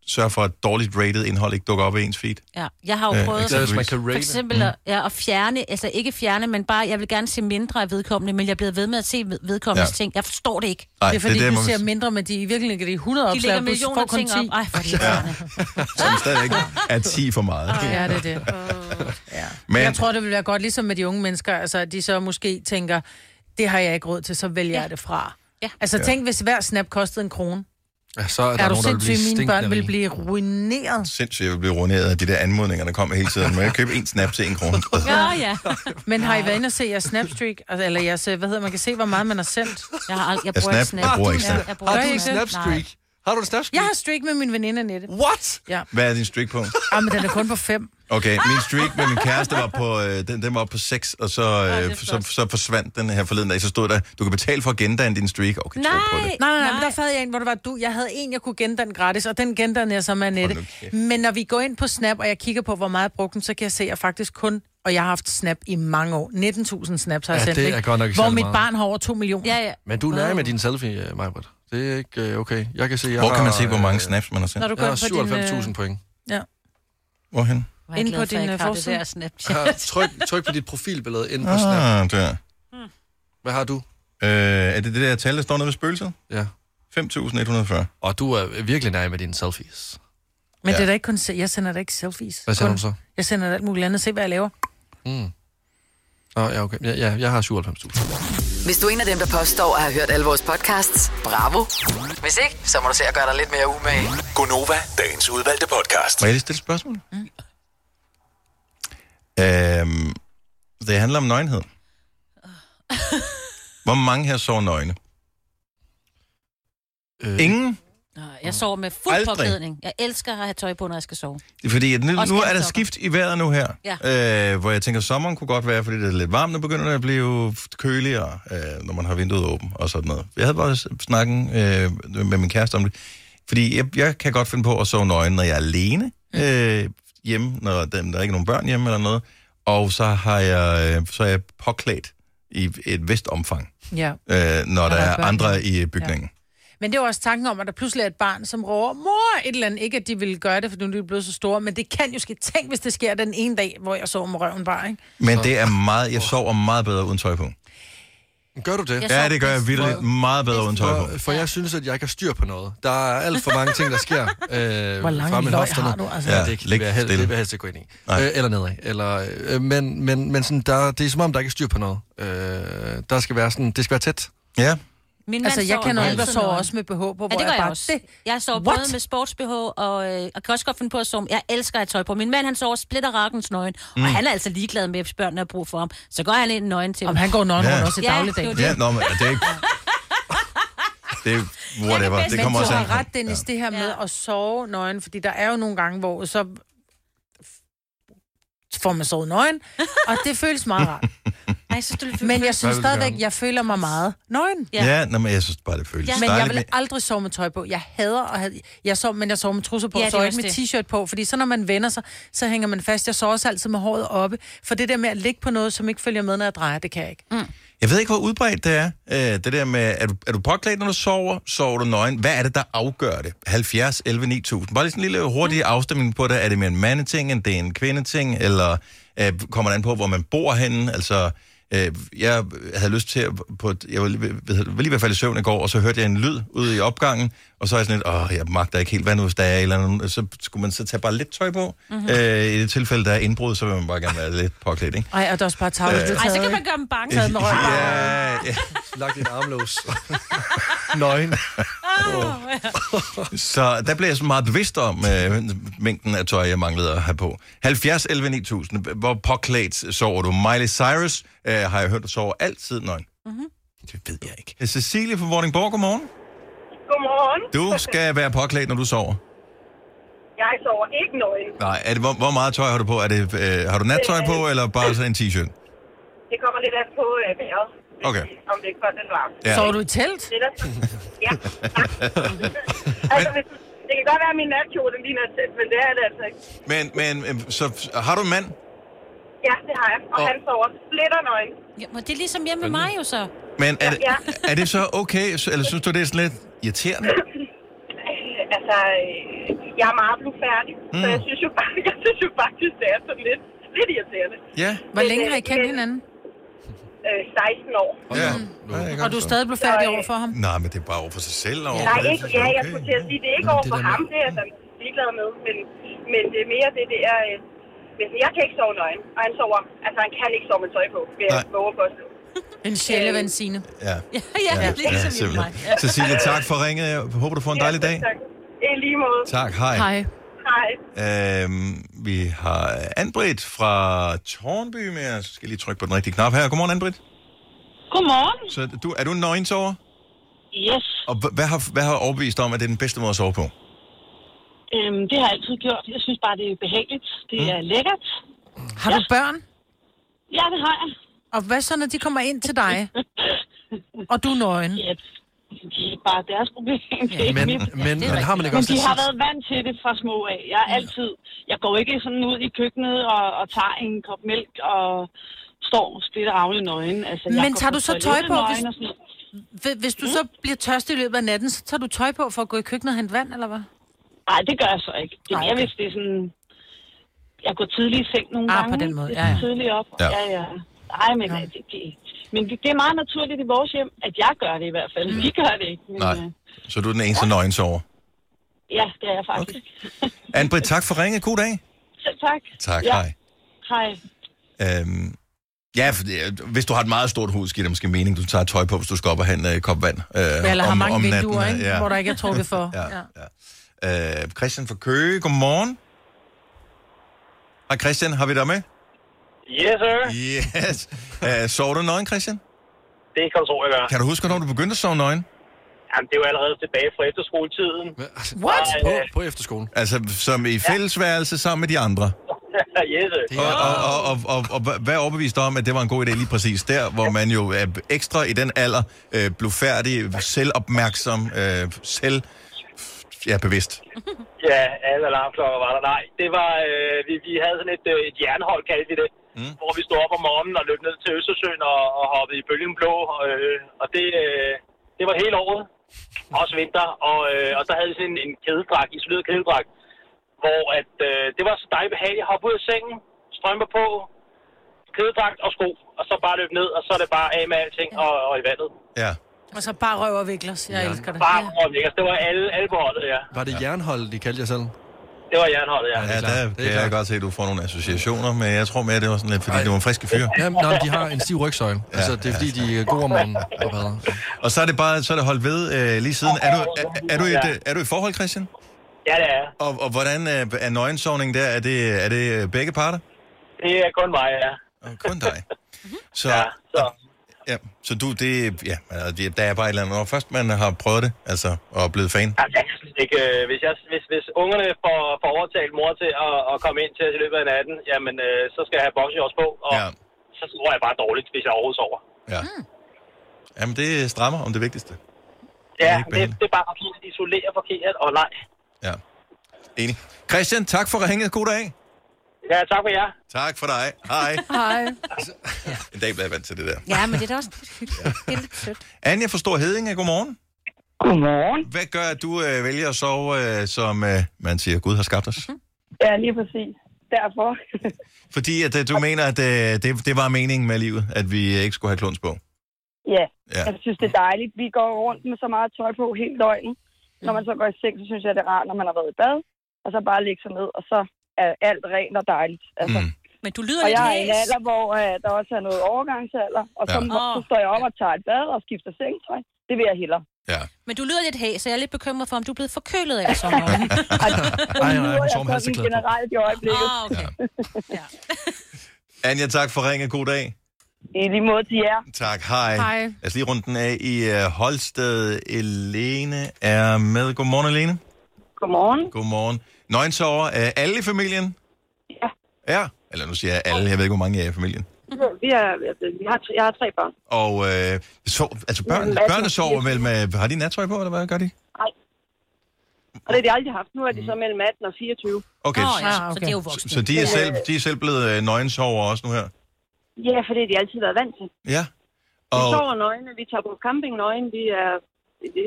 A: sørge for, at dårligt rated indhold ikke dukker op i ens feed.
D: Ja. Jeg har jo
A: Øh,
D: prøvet
A: eksempelvis.
D: for,
A: Man kan
D: for
A: rate.
D: eksempel
A: Mm.
D: at, ja, at fjerne, altså ikke fjerne, men bare, jeg vil gerne se mindre af vedkommende, men jeg er blevet ved med at se ved- vedkommendes ja.
A: Ja.
D: ting. Jeg forstår det ikke.
A: Nej,
B: det er fordi,
A: det er
B: det
A: der,
B: du
A: hvor vi-
B: ser mindre, men de i virkeligheden ligger de 100
D: De lægger
B: opslag, du
D: millioner
B: får kun
D: ting
B: 10.
D: op. Ej, for det
A: Ja. Som stadigvæk er 10 for meget.
B: Ja, det er det. Ja. Men...
A: Men-
B: Jeg tror, det vil være godt, ligesom med de unge mennesker, altså, at de så måske tænker, det har jeg ikke råd til, så vælger ja. jeg det fra. Ja. Altså
C: Ja.
B: tænk, hvis hver snap kostede en krone.
C: Ja, så er,
B: Er,
C: der
B: er du
C: nogen, der vil blive
B: sindssyg, mine børn vil
C: stinkende
B: blive ruineret.
A: Sindssygt, jeg vil blive rundet af de der anmodninger, der kommer hele tiden. Må jeg købe en snap til en krone?
B: Ja, ja. Men har I været inde og se jeres Snapstreak? Altså, Eller jeres, øh, hvad hedder man kan se, hvor meget man har sendt?
D: Jeg, har,
A: Jeg bruger ikke snap. Snap. Jeg bruger ikke Snap.
B: Jeg
C: Har
B: bruger
C: du en
B: ikke det?
C: Snapstreak?
B: Nej.
C: Har du en Snapstreak?
B: Jeg har streak med min veninde, Nette.
C: What?
B: Ja.
A: Hvad er din streakpunkt?
B: Ah, men den er kun på fem.
A: Okay, min streak med min kæreste var på, øh, den, den var på 6, og så, øh, så, så forsvandt den her forleden dag. Så stod der, du kan betale for at gendanne din streak. Okay,
B: Nej, nej, nej, nej, men der havde jeg en, hvor det var du. Jeg havde en, jeg kunne gendanne gratis, og den gendannede jeg så med Annette. Men når vi går ind på Snap, og jeg kigger på, hvor meget jeg brugte den, så kan jeg se, at jeg faktisk kun, og jeg har haft Snap i mange år, 19.000 snaps har jeg
C: Ja,
B: sendt,
C: det er
B: ikke?
C: godt nok ikke
B: hvor
C: særlig
B: mit
C: meget.
B: barn har over 2 millioner.
D: Ja, ja.
B: øh,
C: Men du er nær med din selfie, Majbert. Det er ikke øh, okay. Jeg kan se, jeg
A: Hvor kan man
C: har,
A: se, hvor mange
C: øh,
A: snaps man har sendt?
B: Når du går
C: jeg har
B: ind på din, øh,
C: 97.000 point.
B: Ja.
A: Hvorhen?
D: Hvor er jeg
B: Inde
D: glad
B: på
D: for,
B: din,
D: jeg ikke
B: øh,
D: har det
B: forside.
D: der
C: Her,
D: Snapchat.
C: tryk, tryk på dit profilbillede inde på ah. Snap.
A: Ah, der.
C: Hvad har du?
A: Øh, er det det der tal, der står nede ved spøgelset?
C: Ja.
A: 5.140.
C: Og du er virkelig nær med dine selfies.
B: Men ja. det er da ikke kun... se- Jeg sender da ikke selfies.
C: Hvad sender
B: Kun-
C: du så?
B: Jeg sender da alt muligt andet. Se, hvad jeg laver.
C: Mm. Nå, ja, okay. Ja, ja, jeg har 97.000.
F: Hvis du er en af dem, der påstår at have hørt alle vores podcasts, bravo. Hvis ikke, så må du se at gøre dig lidt mere umage.
M: Gonova, dagens udvalgte podcast.
A: Må jeg lige stille et spørgsmål? Øhm, det handler om nøgenhed. Hvor mange her sover nøgne? Øh. Ingen?
D: Nej, jeg sover med fuld
A: Aldrig.
D: påklædning. Jeg elsker at have tøj på, når jeg skal sove.
A: Det er Fordi at nu,
D: Også
A: nu er der
D: gensokker.
A: skift i vejret nu her, ja. øh, hvor jeg tænker, sommeren kunne godt være, fordi det er lidt varmt, og begynder det at blive køligere, øh, når man har vinduet åbent og sådan noget. Jeg havde bare s- snakken øh, med min kæreste om det, fordi jeg, jeg kan godt finde på at sove nøgen, når jeg er alene øh, hjemme, når der, der er ikke nogen børn hjemme eller noget, og så, har jeg, øh, så er jeg påklædt i et vist omfang,
B: Ja.
A: øh, når der
B: der er
A: er
B: børn.
A: andre i bygningen.
B: Men det er jo også tanken om, at der pludselig er et barn, som råber, mor, et eller andet. Ikke, at de ville gøre det, for nu er de blevet så store, men det kan jo ske. Tænk, hvis det sker den ene dag, hvor jeg sover med røven bare, ikke?
A: Men det er meget, jeg sover meget bedre uden tøj på.
C: Gør du det?
A: Jeg Ja, det gør jeg virkelig meget bedre uden tøj på.
C: For, for jeg synes, at jeg ikke har styr på noget. Der er alt for mange ting, der sker. Øh,
B: Hvor lange
C: frem i
B: løg
C: hofterne.
B: har du, altså?
C: Ja,
B: Ja,
C: det, kan, det,
A: læg
C: vil jeg helst, det
A: stille.
C: vil jeg helst ikke gå ind i. Øh, eller nedad. Eller, øh, men men, men sådan, der, det er som om, der ikke er styr på noget. Øh, der skal være sådan, det skal være tæt.
A: Ja.
D: Min
B: Altså, jeg kender nogen, der
D: altid
B: sover
D: nøgen.
B: også med BH på, hvor
D: ja, det
B: jeg
D: gør jeg,
B: bare-
D: også.
B: det-
D: Jeg sover
B: What?
D: både med sports-BH, og, øh, og kan også godt finde på at sove. Jeg elsker at have tøj på. Min mand, han sover splitter rakkens nøgen, mm.
A: Mm.
D: og han er altså ligeglad med, hvis børnene har brug for ham. Så går han ind i nøgen til Om
B: han går nøgen
A: Ja. rundt også
B: i
D: Ja,
B: dagligdagen.
D: det er
A: Ja,
D: jo det.
A: nå, men det er ikke... Det er whatever. Det kommer
B: men
A: også
B: du
A: an
B: har
A: på.
B: ret, Dennis, det her med at sove nøgen, fordi der er jo nogle gange, hvor så får man sovet nøgen, og det føles meget rart.
D: Ej, så du,
B: Men jeg
A: Hvad
B: synes
A: vil du
B: stadigvæk,
A: gerne?
B: jeg føler mig meget nøgen.
A: Ja, nå, men jeg synes bare, det føles
B: Ja.
A: ja.
B: Men jeg
A: dejligt.
B: vil
A: Men
B: aldrig sove med tøj på. Jeg hader at have... Jeg sov, men jeg sov med trusser på,
D: Ja,
B: ja,
D: det
B: så
D: er
B: ikke
D: også
B: med
D: det.
B: t-shirt på. Fordi så når man vender sig, så hænger man fast. Jeg sover også altid med håret oppe. For det der med at ligge på noget, som ikke følger med, når jeg drejer, det kan jeg ikke. Mm.
A: jeg ved ikke, hvor udbredt det er. Øh, det der med, er du, er du påklædt, når du sover? Sover du nøgen? Hvad er det, der afgør det? 70, 11, 9000. Bare lige sådan en lille hurtig afstemning på det. Er det mere en mandeting, end det er en kvindeting? Eller øh, kommer det an på, hvor man bor henne? Altså, øh, jeg havde lyst til at... På, et- jeg var lige, ved- var lige ved at falde i søvn i går, og så hørte jeg en lyd ude i opgangen. Og så er jeg sådan lidt, åh, jeg magter ikke helt, hvad nu hvis der er et eller andet. Så skulle man så tage bare lidt tøj på.
B: Mhm.
A: Mm-hmm. Øh, I det tilfælde, der er indbrud, så vil man bare gerne være lidt påklædt, ikke?
B: Ej, og det er også bare tavlet.
A: Øh.
B: Øh.
D: Ej, så kan man gøre dem bange.
B: Taget med røven.
A: Ja, ja.
C: Lagt din armlås. Nøgen.
A: Så der blev jeg sådan meget bevidst om øh, mængden af tøj, jeg manglede at have på. 70, 11, 9000. Hvor påklædt sover du? Miley Cyrus øh, har jeg hørt, du sover altid nøgen.
B: Mm-hmm.
G: Mhm.
A: Det ved jeg ikke. Øh, Cecilie fra Vordingborg, godmorgen.
K: Godmorgen.
A: Du skal være påklædt, når du sover.
K: Jeg sover ikke nøgen.
A: Nej, er det, hvor, hvor meget tøj har du på? Er det, øh, har du nattøj på, eller bare sådan en t-shirt?
K: Det kommer lidt an på øh, vejret,
A: Okay.
K: om det er koldt eller varmt.
A: Ja. Sover du
B: i telt?
K: Ja. altså, hvis, det kan godt være, at min natkjole den ligner et telt, men det er det altså ikke.
A: Men, men øh, så har du en mand?
K: Ja, det har jeg. Og, og... han sover splitter nøgen.
D: Ja, men det er ligesom hjemme med mig jo så.
A: Men er, det,
K: Ja.
A: er det så okay, så- eller synes du, det er sådan lidt irriterende?
K: Øh, altså, øh, jeg er meget blufærdig, mm. så
A: Mm.
K: jeg synes, jo, bare- jeg synes jo faktisk, det er sådan lidt, lidt irriterende.
A: Ja.
B: Hvor længe har I kendt hinanden?
K: Øh, 16 år.
A: Ja.
B: Og du er stadig blevet færdig over for ham?
A: Nej, men det er bare over for sig selv. og Over
K: Nej,
A: for det,
K: ikke,
A: synes
K: ja,
A: er altså
K: jeg
A: okay.
K: skulle til at sige, det er ikke
A: Nå,
K: over
A: det
K: for
A: der
K: ham, det er jeg sådan ligeglad med, men, men det er mere det der, øh, men jeg kan ikke sove nøgen, og han sover, altså han kan ikke sove med tøj på, vil jeg våge på
B: En sjælevansine.
A: Ja.
D: Ja, ligesom
A: Ja, ja, simpelthen. Cecilie, tak for ringet. Jeg håber, du får en dejlig dag.
K: Tak. I lige måde.
A: Tak, hej. Hej.
K: Hej.
A: Øhm, vi har Anbrit fra Tornby med os. Jeg skal lige trykke på den rigtige knap her. Godmorgen, Anbrit.
O: Godmorgen.
A: Så du, er du en nøgensover?
O: Yes,
A: Og h- hvad har, hvad har overbevist dig om, at det er den bedste måde at sove på?
O: øhm, det har jeg altid gjort. Jeg synes bare, det er behageligt. Det
A: Mm.
O: er lækkert.
B: Har du børn?
O: Ja, det har jeg.
B: Og hvad så, når de kommer ind til dig? og du er nøgen?
O: Ja, det er bare deres problem. det er ikke
C: men-
O: mit.
C: men- Ja, det er men rigtigt. har man ikke
O: men
C: også
O: de
C: lidt
O: har
C: tid-
O: været vant til det fra små af. Jeg er altid... Jeg går ikke sådan ud i køkkenet og, og tager en kop mælk og står splitter ravle nøgen. Altså, jeg
B: Men
O: går
B: tager
O: på
B: du så
O: toilettet
B: tøj på,
O: nøgen
B: hvis-
O: og sådan noget.
B: hvi- hvis du mm. så bliver tørstig i løbet af natten, så tager du tøj på for at gå i køkkenet og hente vand, eller hvad?
P: Nej, det gør jeg så ikke. Det er mere, hvis det er sådan... Jeg går tidligt i seng nogle
B: Ah,
P: gange.
B: på den måde.
P: lidt
B: Ja, ja.
P: Tidligt op.
B: Ja.
P: Ja, ja. ja. Ej, men, ja. Det, det, men det, det er meget naturligt i vores hjem, at jeg gør det i hvert fald. Mm. De gør det ikke. Men,
A: Nej.
P: øh,
A: Så du er den eneste ja. nøgensover.
P: Ja, det er jeg faktisk. Okay.
A: Anne-Britt, tak for ringet. God dag.
P: Selv tak.
A: Tak,
P: ja.
A: hej.
P: Hej.
A: Øhm, ja, for det- hvis du har et meget stort hus, giver det måske mening, du tager tøj på, hvis du skal op og hente en kop vand. Øh,
B: Eller har mange vinduer,
A: natten,
B: ikke?
A: ja.
B: hvor der ikke er trukket for.
A: ja. Øh, Christian fra Køge, godmorgen. Hej Christian, har vi dig med?
K: Yes, sir.
A: Yes. Øh, sover du nøgen, Christian?
K: Det kan du tro, jeg gør.
A: Kan du huske, hvornår du begyndte at sove nøgen?
K: Jamen, det er jo allerede tilbage fra efterskoletiden.
A: What?
K: Så,
A: På-
K: øh,
C: På efterskolen.
A: Altså, som i fællesværelse sammen med de andre.
K: yes, sir.
A: Og, og, og, og, og, og hva- hvad overbeviste dig om, at det var en god idé lige præcis der, hvor man jo er ekstra i den alder, øh, blufærdig, selvopmærksom, øh, selv ja, bevidst?
K: Ja, alle alarmklokker var der. Nej, det var, øh, vi, vi havde sådan et, øh, et jernhold, kaldte vi det, mm. hvor vi stod op om morgenen og løb ned til Østersøen og, og hoppede i bølgen blå, og, øh, og det, øh, det var hele året, også vinter, og, øh, og så havde vi sådan en, en kædedragt, isoleret kædedragt, hvor at, øh, det var så dejligt behageligt at hoppe ud af sengen, strømper på, kædedragt og sko, og så bare løb ned, og så er det bare af med alting og, og i vandet.
B: Og så bare røv og viklers. Jeg elsker det.
K: Bare om ikke? Altså, det var alle, alle på holdet, ja.
C: Var det ja. jernhold, de kaldte jer selv?
K: Det var jernholdet, ja.
A: Ja, der kan jeg godt se, at du får nogle associationer, men jeg tror mere, det var sådan lidt, fordi det var en friske fyr.
C: Ja, men, nej, de har en stiv rygsøjle. Ja, altså, det er fordi, de er gode om morgenen og bader.
A: Og så er det bare så er det holdt ved øh, lige siden. Er du, er, er, du i et, øh, er du i forhold, Christian?
K: Ja, det er jeg.
A: Og, og hvordan øh, er nøgensovning der? Er det, er det øh, begge parter?
K: Det er kun mig, ja.
A: Kun dig. Så, ja, så. Ja, så du, det, ja, altså, det- der er bare et eller andet. Når først man har prøvet det, altså, og er blevet fan.
K: Altså, jeg synes ikke, øh, hvis, jeg, hvis, hvis ungerne får, får overtalt mor til at, at komme ind til os i løbet af natten, jamen, øh, så skal jeg have boxershorts på, og ja. så sover jeg bare dårligt, hvis jeg overhovedet sover.
A: Ja. Jamen, det strammer om det vigtigste.
K: Ja, det, det er bare fordi, at isolerer forkert, og nej.
A: Enig. Christian, tak for ringet. God dag.
K: Ja, tak for jer.
A: Tak for dig. Hej. Altså,
D: Hej.
A: En dag bliver jeg vant til det der.
D: Ja, men det er da også lidt hyggeligt. Det er lidt sødt.
A: Anja fra Stor Hedinge, godmorgen.
Q: Godmorgen.
A: Hvad gør, at du øh, vælger at sove, øh, som øh, man siger, Gud har skabt os?
Q: Ja, lige præcis. Derfor.
A: Fordi at, øh, du mener, at øh, det, det var meningen med livet, at vi øh, ikke skulle have kluns på.
Q: ja.
A: Ja.
Q: ja, jeg synes, det er dejligt. Vi går rundt med så meget tøj på hele døgnet. Når man så går i seng, så synes jeg, det er rart, når man har været i bad. Og så bare ligge sig ned, og så er alt rent og dejligt. Altså, mm.
D: Men du lyder
Q: og
D: lidt
Q: jeg er i en
D: hæs.
Q: alder, hvor
R: øh,
Q: uh, der også er noget overgangsalder. Og så,
D: Ja.
Q: ja. så står jeg op og tager et bad og skifter sengtøj. Det vil jeg hellere.
D: Men du lyder lidt hæs, så jeg er lidt bekymret for, om du er blevet forkølet af sommeren.
A: Ej, nej,
Q: Nu
A: hun
Q: er jeg
A: sover med
Q: sådan
A: halseklæde på.
Q: generelt i øjeblikket.
D: Ah, okay.
A: Anja, tak for ringet. God dag.
Q: I lige måde til jer.
A: Tak, hej.
Q: Hej.
A: Lad os lige runde den af i uh, Holsted. Elene er med. Godmorgen, Elene.
Q: Godmorgen.
A: Godmorgen. Nøgensover. Uh, alle i familien? Ja. Ja? Eller nu siger jeg alle. Jeg ved ikke, hvor mange jeg er i familien.
R: Vi er, vi har, jeg har tre børn.
A: Og uh, so, altså børn,
R: Ja,
A: børnene sover vel med... Har de nattøj på, eller hvad gør de?
R: Og det har de aldrig haft. Nu er de så
A: Mhm.
R: mellem 18 og 24.
A: Okay, Nå, ja,
D: så det er jo voksne.
A: Så, så de, er selv, de er selv blevet uh, nøgensover også nu her?
R: Ja, for det har de altid været vant til.
A: Ja.
R: Vi
A: Og,
R: sover nøgne, vi tager på camping nøgne, vi er...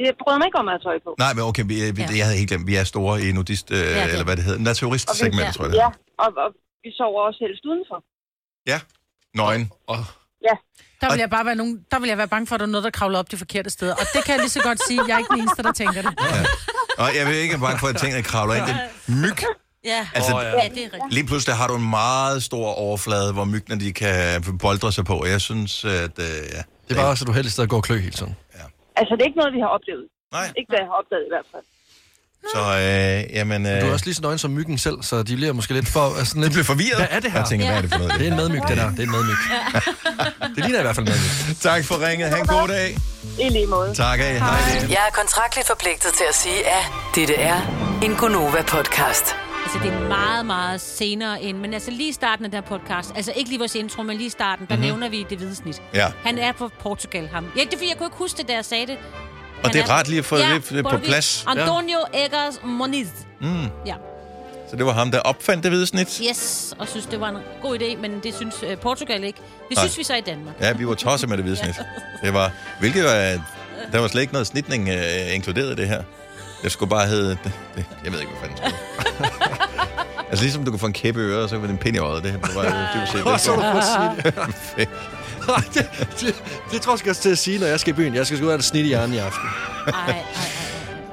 R: Jeg bryder mig ikke om at have tøj på.
A: nej, men okay, vi, vi, jeg havde helt glemt, vi er store i nudist, uh,
R: det er.
A: eller hvad det hedder, naturist-segmentet, tror jeg det
R: Ja,
A: hedder.
R: og, og vi sover også helst udenfor.
A: Nøgen. Oh.
R: Ja.
B: Der vil jeg bare være, nogen, der vil jeg være bange for, at der er noget, der kravler op de forkerte steder. Og det kan jeg lige så godt sige. Jeg er ikke den eneste, der tænker det.
A: Og jeg vil ikke være bange for, at tingene kravler ind. Det er myg.
D: Ja.
A: Altså,
D: Åh, ja. ja, det er rigtigt.
A: Lige pludselig har du en meget stor overflade, hvor myggene de kan boldre sig på. og Jeg synes, at... Øh, ja.
C: Det er bare også, at du helst stadig går og klø hele tiden.
R: Altså, det er ikke noget, vi har oplevet.
A: Nej.
R: Ikke hvad jeg har opdaget i hvert fald.
A: Så, øh, jamen... Øh,
C: Du er også lige så nøgen som myggen selv, så de bliver måske lidt for... Altså, sådan lidt, de bliver
A: forvirret.
C: Hvad er det her?
A: Jeg tænker, hvad er det for noget?
C: Det er en madmyg, det der. Det er en madmyg. det ligner i hvert fald en madmyg.
A: Tak for ringet. Ha' en god dag.
R: I lige måde.
A: Tak af. Hej.
F: Jeg er kontraktligt forpligtet til at sige, at dette er en Gonova-podcast.
D: Altså, det er meget, meget senere end... Men altså, lige i starten af den her podcast, altså ikke lige vores intro, men lige i starten, der
A: Mhm.
D: mm-hmm. nævner vi det hvide snit.
A: Ja.
D: Han er på Portugal, ham. Ja, det er fordi, jeg kunne ikke huske det, da jeg sagde det.
A: Og det er rart lige at få det på
D: Portugal.
A: plads. Ja.
D: Antonio Eggers Moniz.
A: Mm.
D: Ja.
A: Så det var ham, der opfandt det hvide snit.
D: Yes, og synes, det var en god idé, men det synes øh, Portugal ikke. Det
A: Nej.
D: synes vi så i Danmark.
A: Ja, vi var tosset med det hvide snit. Det var, hvilket var Der var slet ikke noget snitning øh, inkluderet i det her. Det skulle bare hedde... Det, det, jeg ved ikke, hvad fanden det skulle. Altså ligesom du kunne få en kæppe i øret, og så var det en pind i øjet. Det her det var bare dybest set...
C: Og så var det
A: det.
C: for Ej, det, det, det tror jeg også til at sige, når jeg skal i byen. Jeg skal sgu have et snit i hjernen i aften.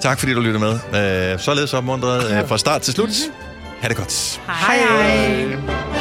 A: Tak fordi du lyttede med. Øh, således opmuntret øh, fra start til slut. Ha' det godt.
B: Hej. hej.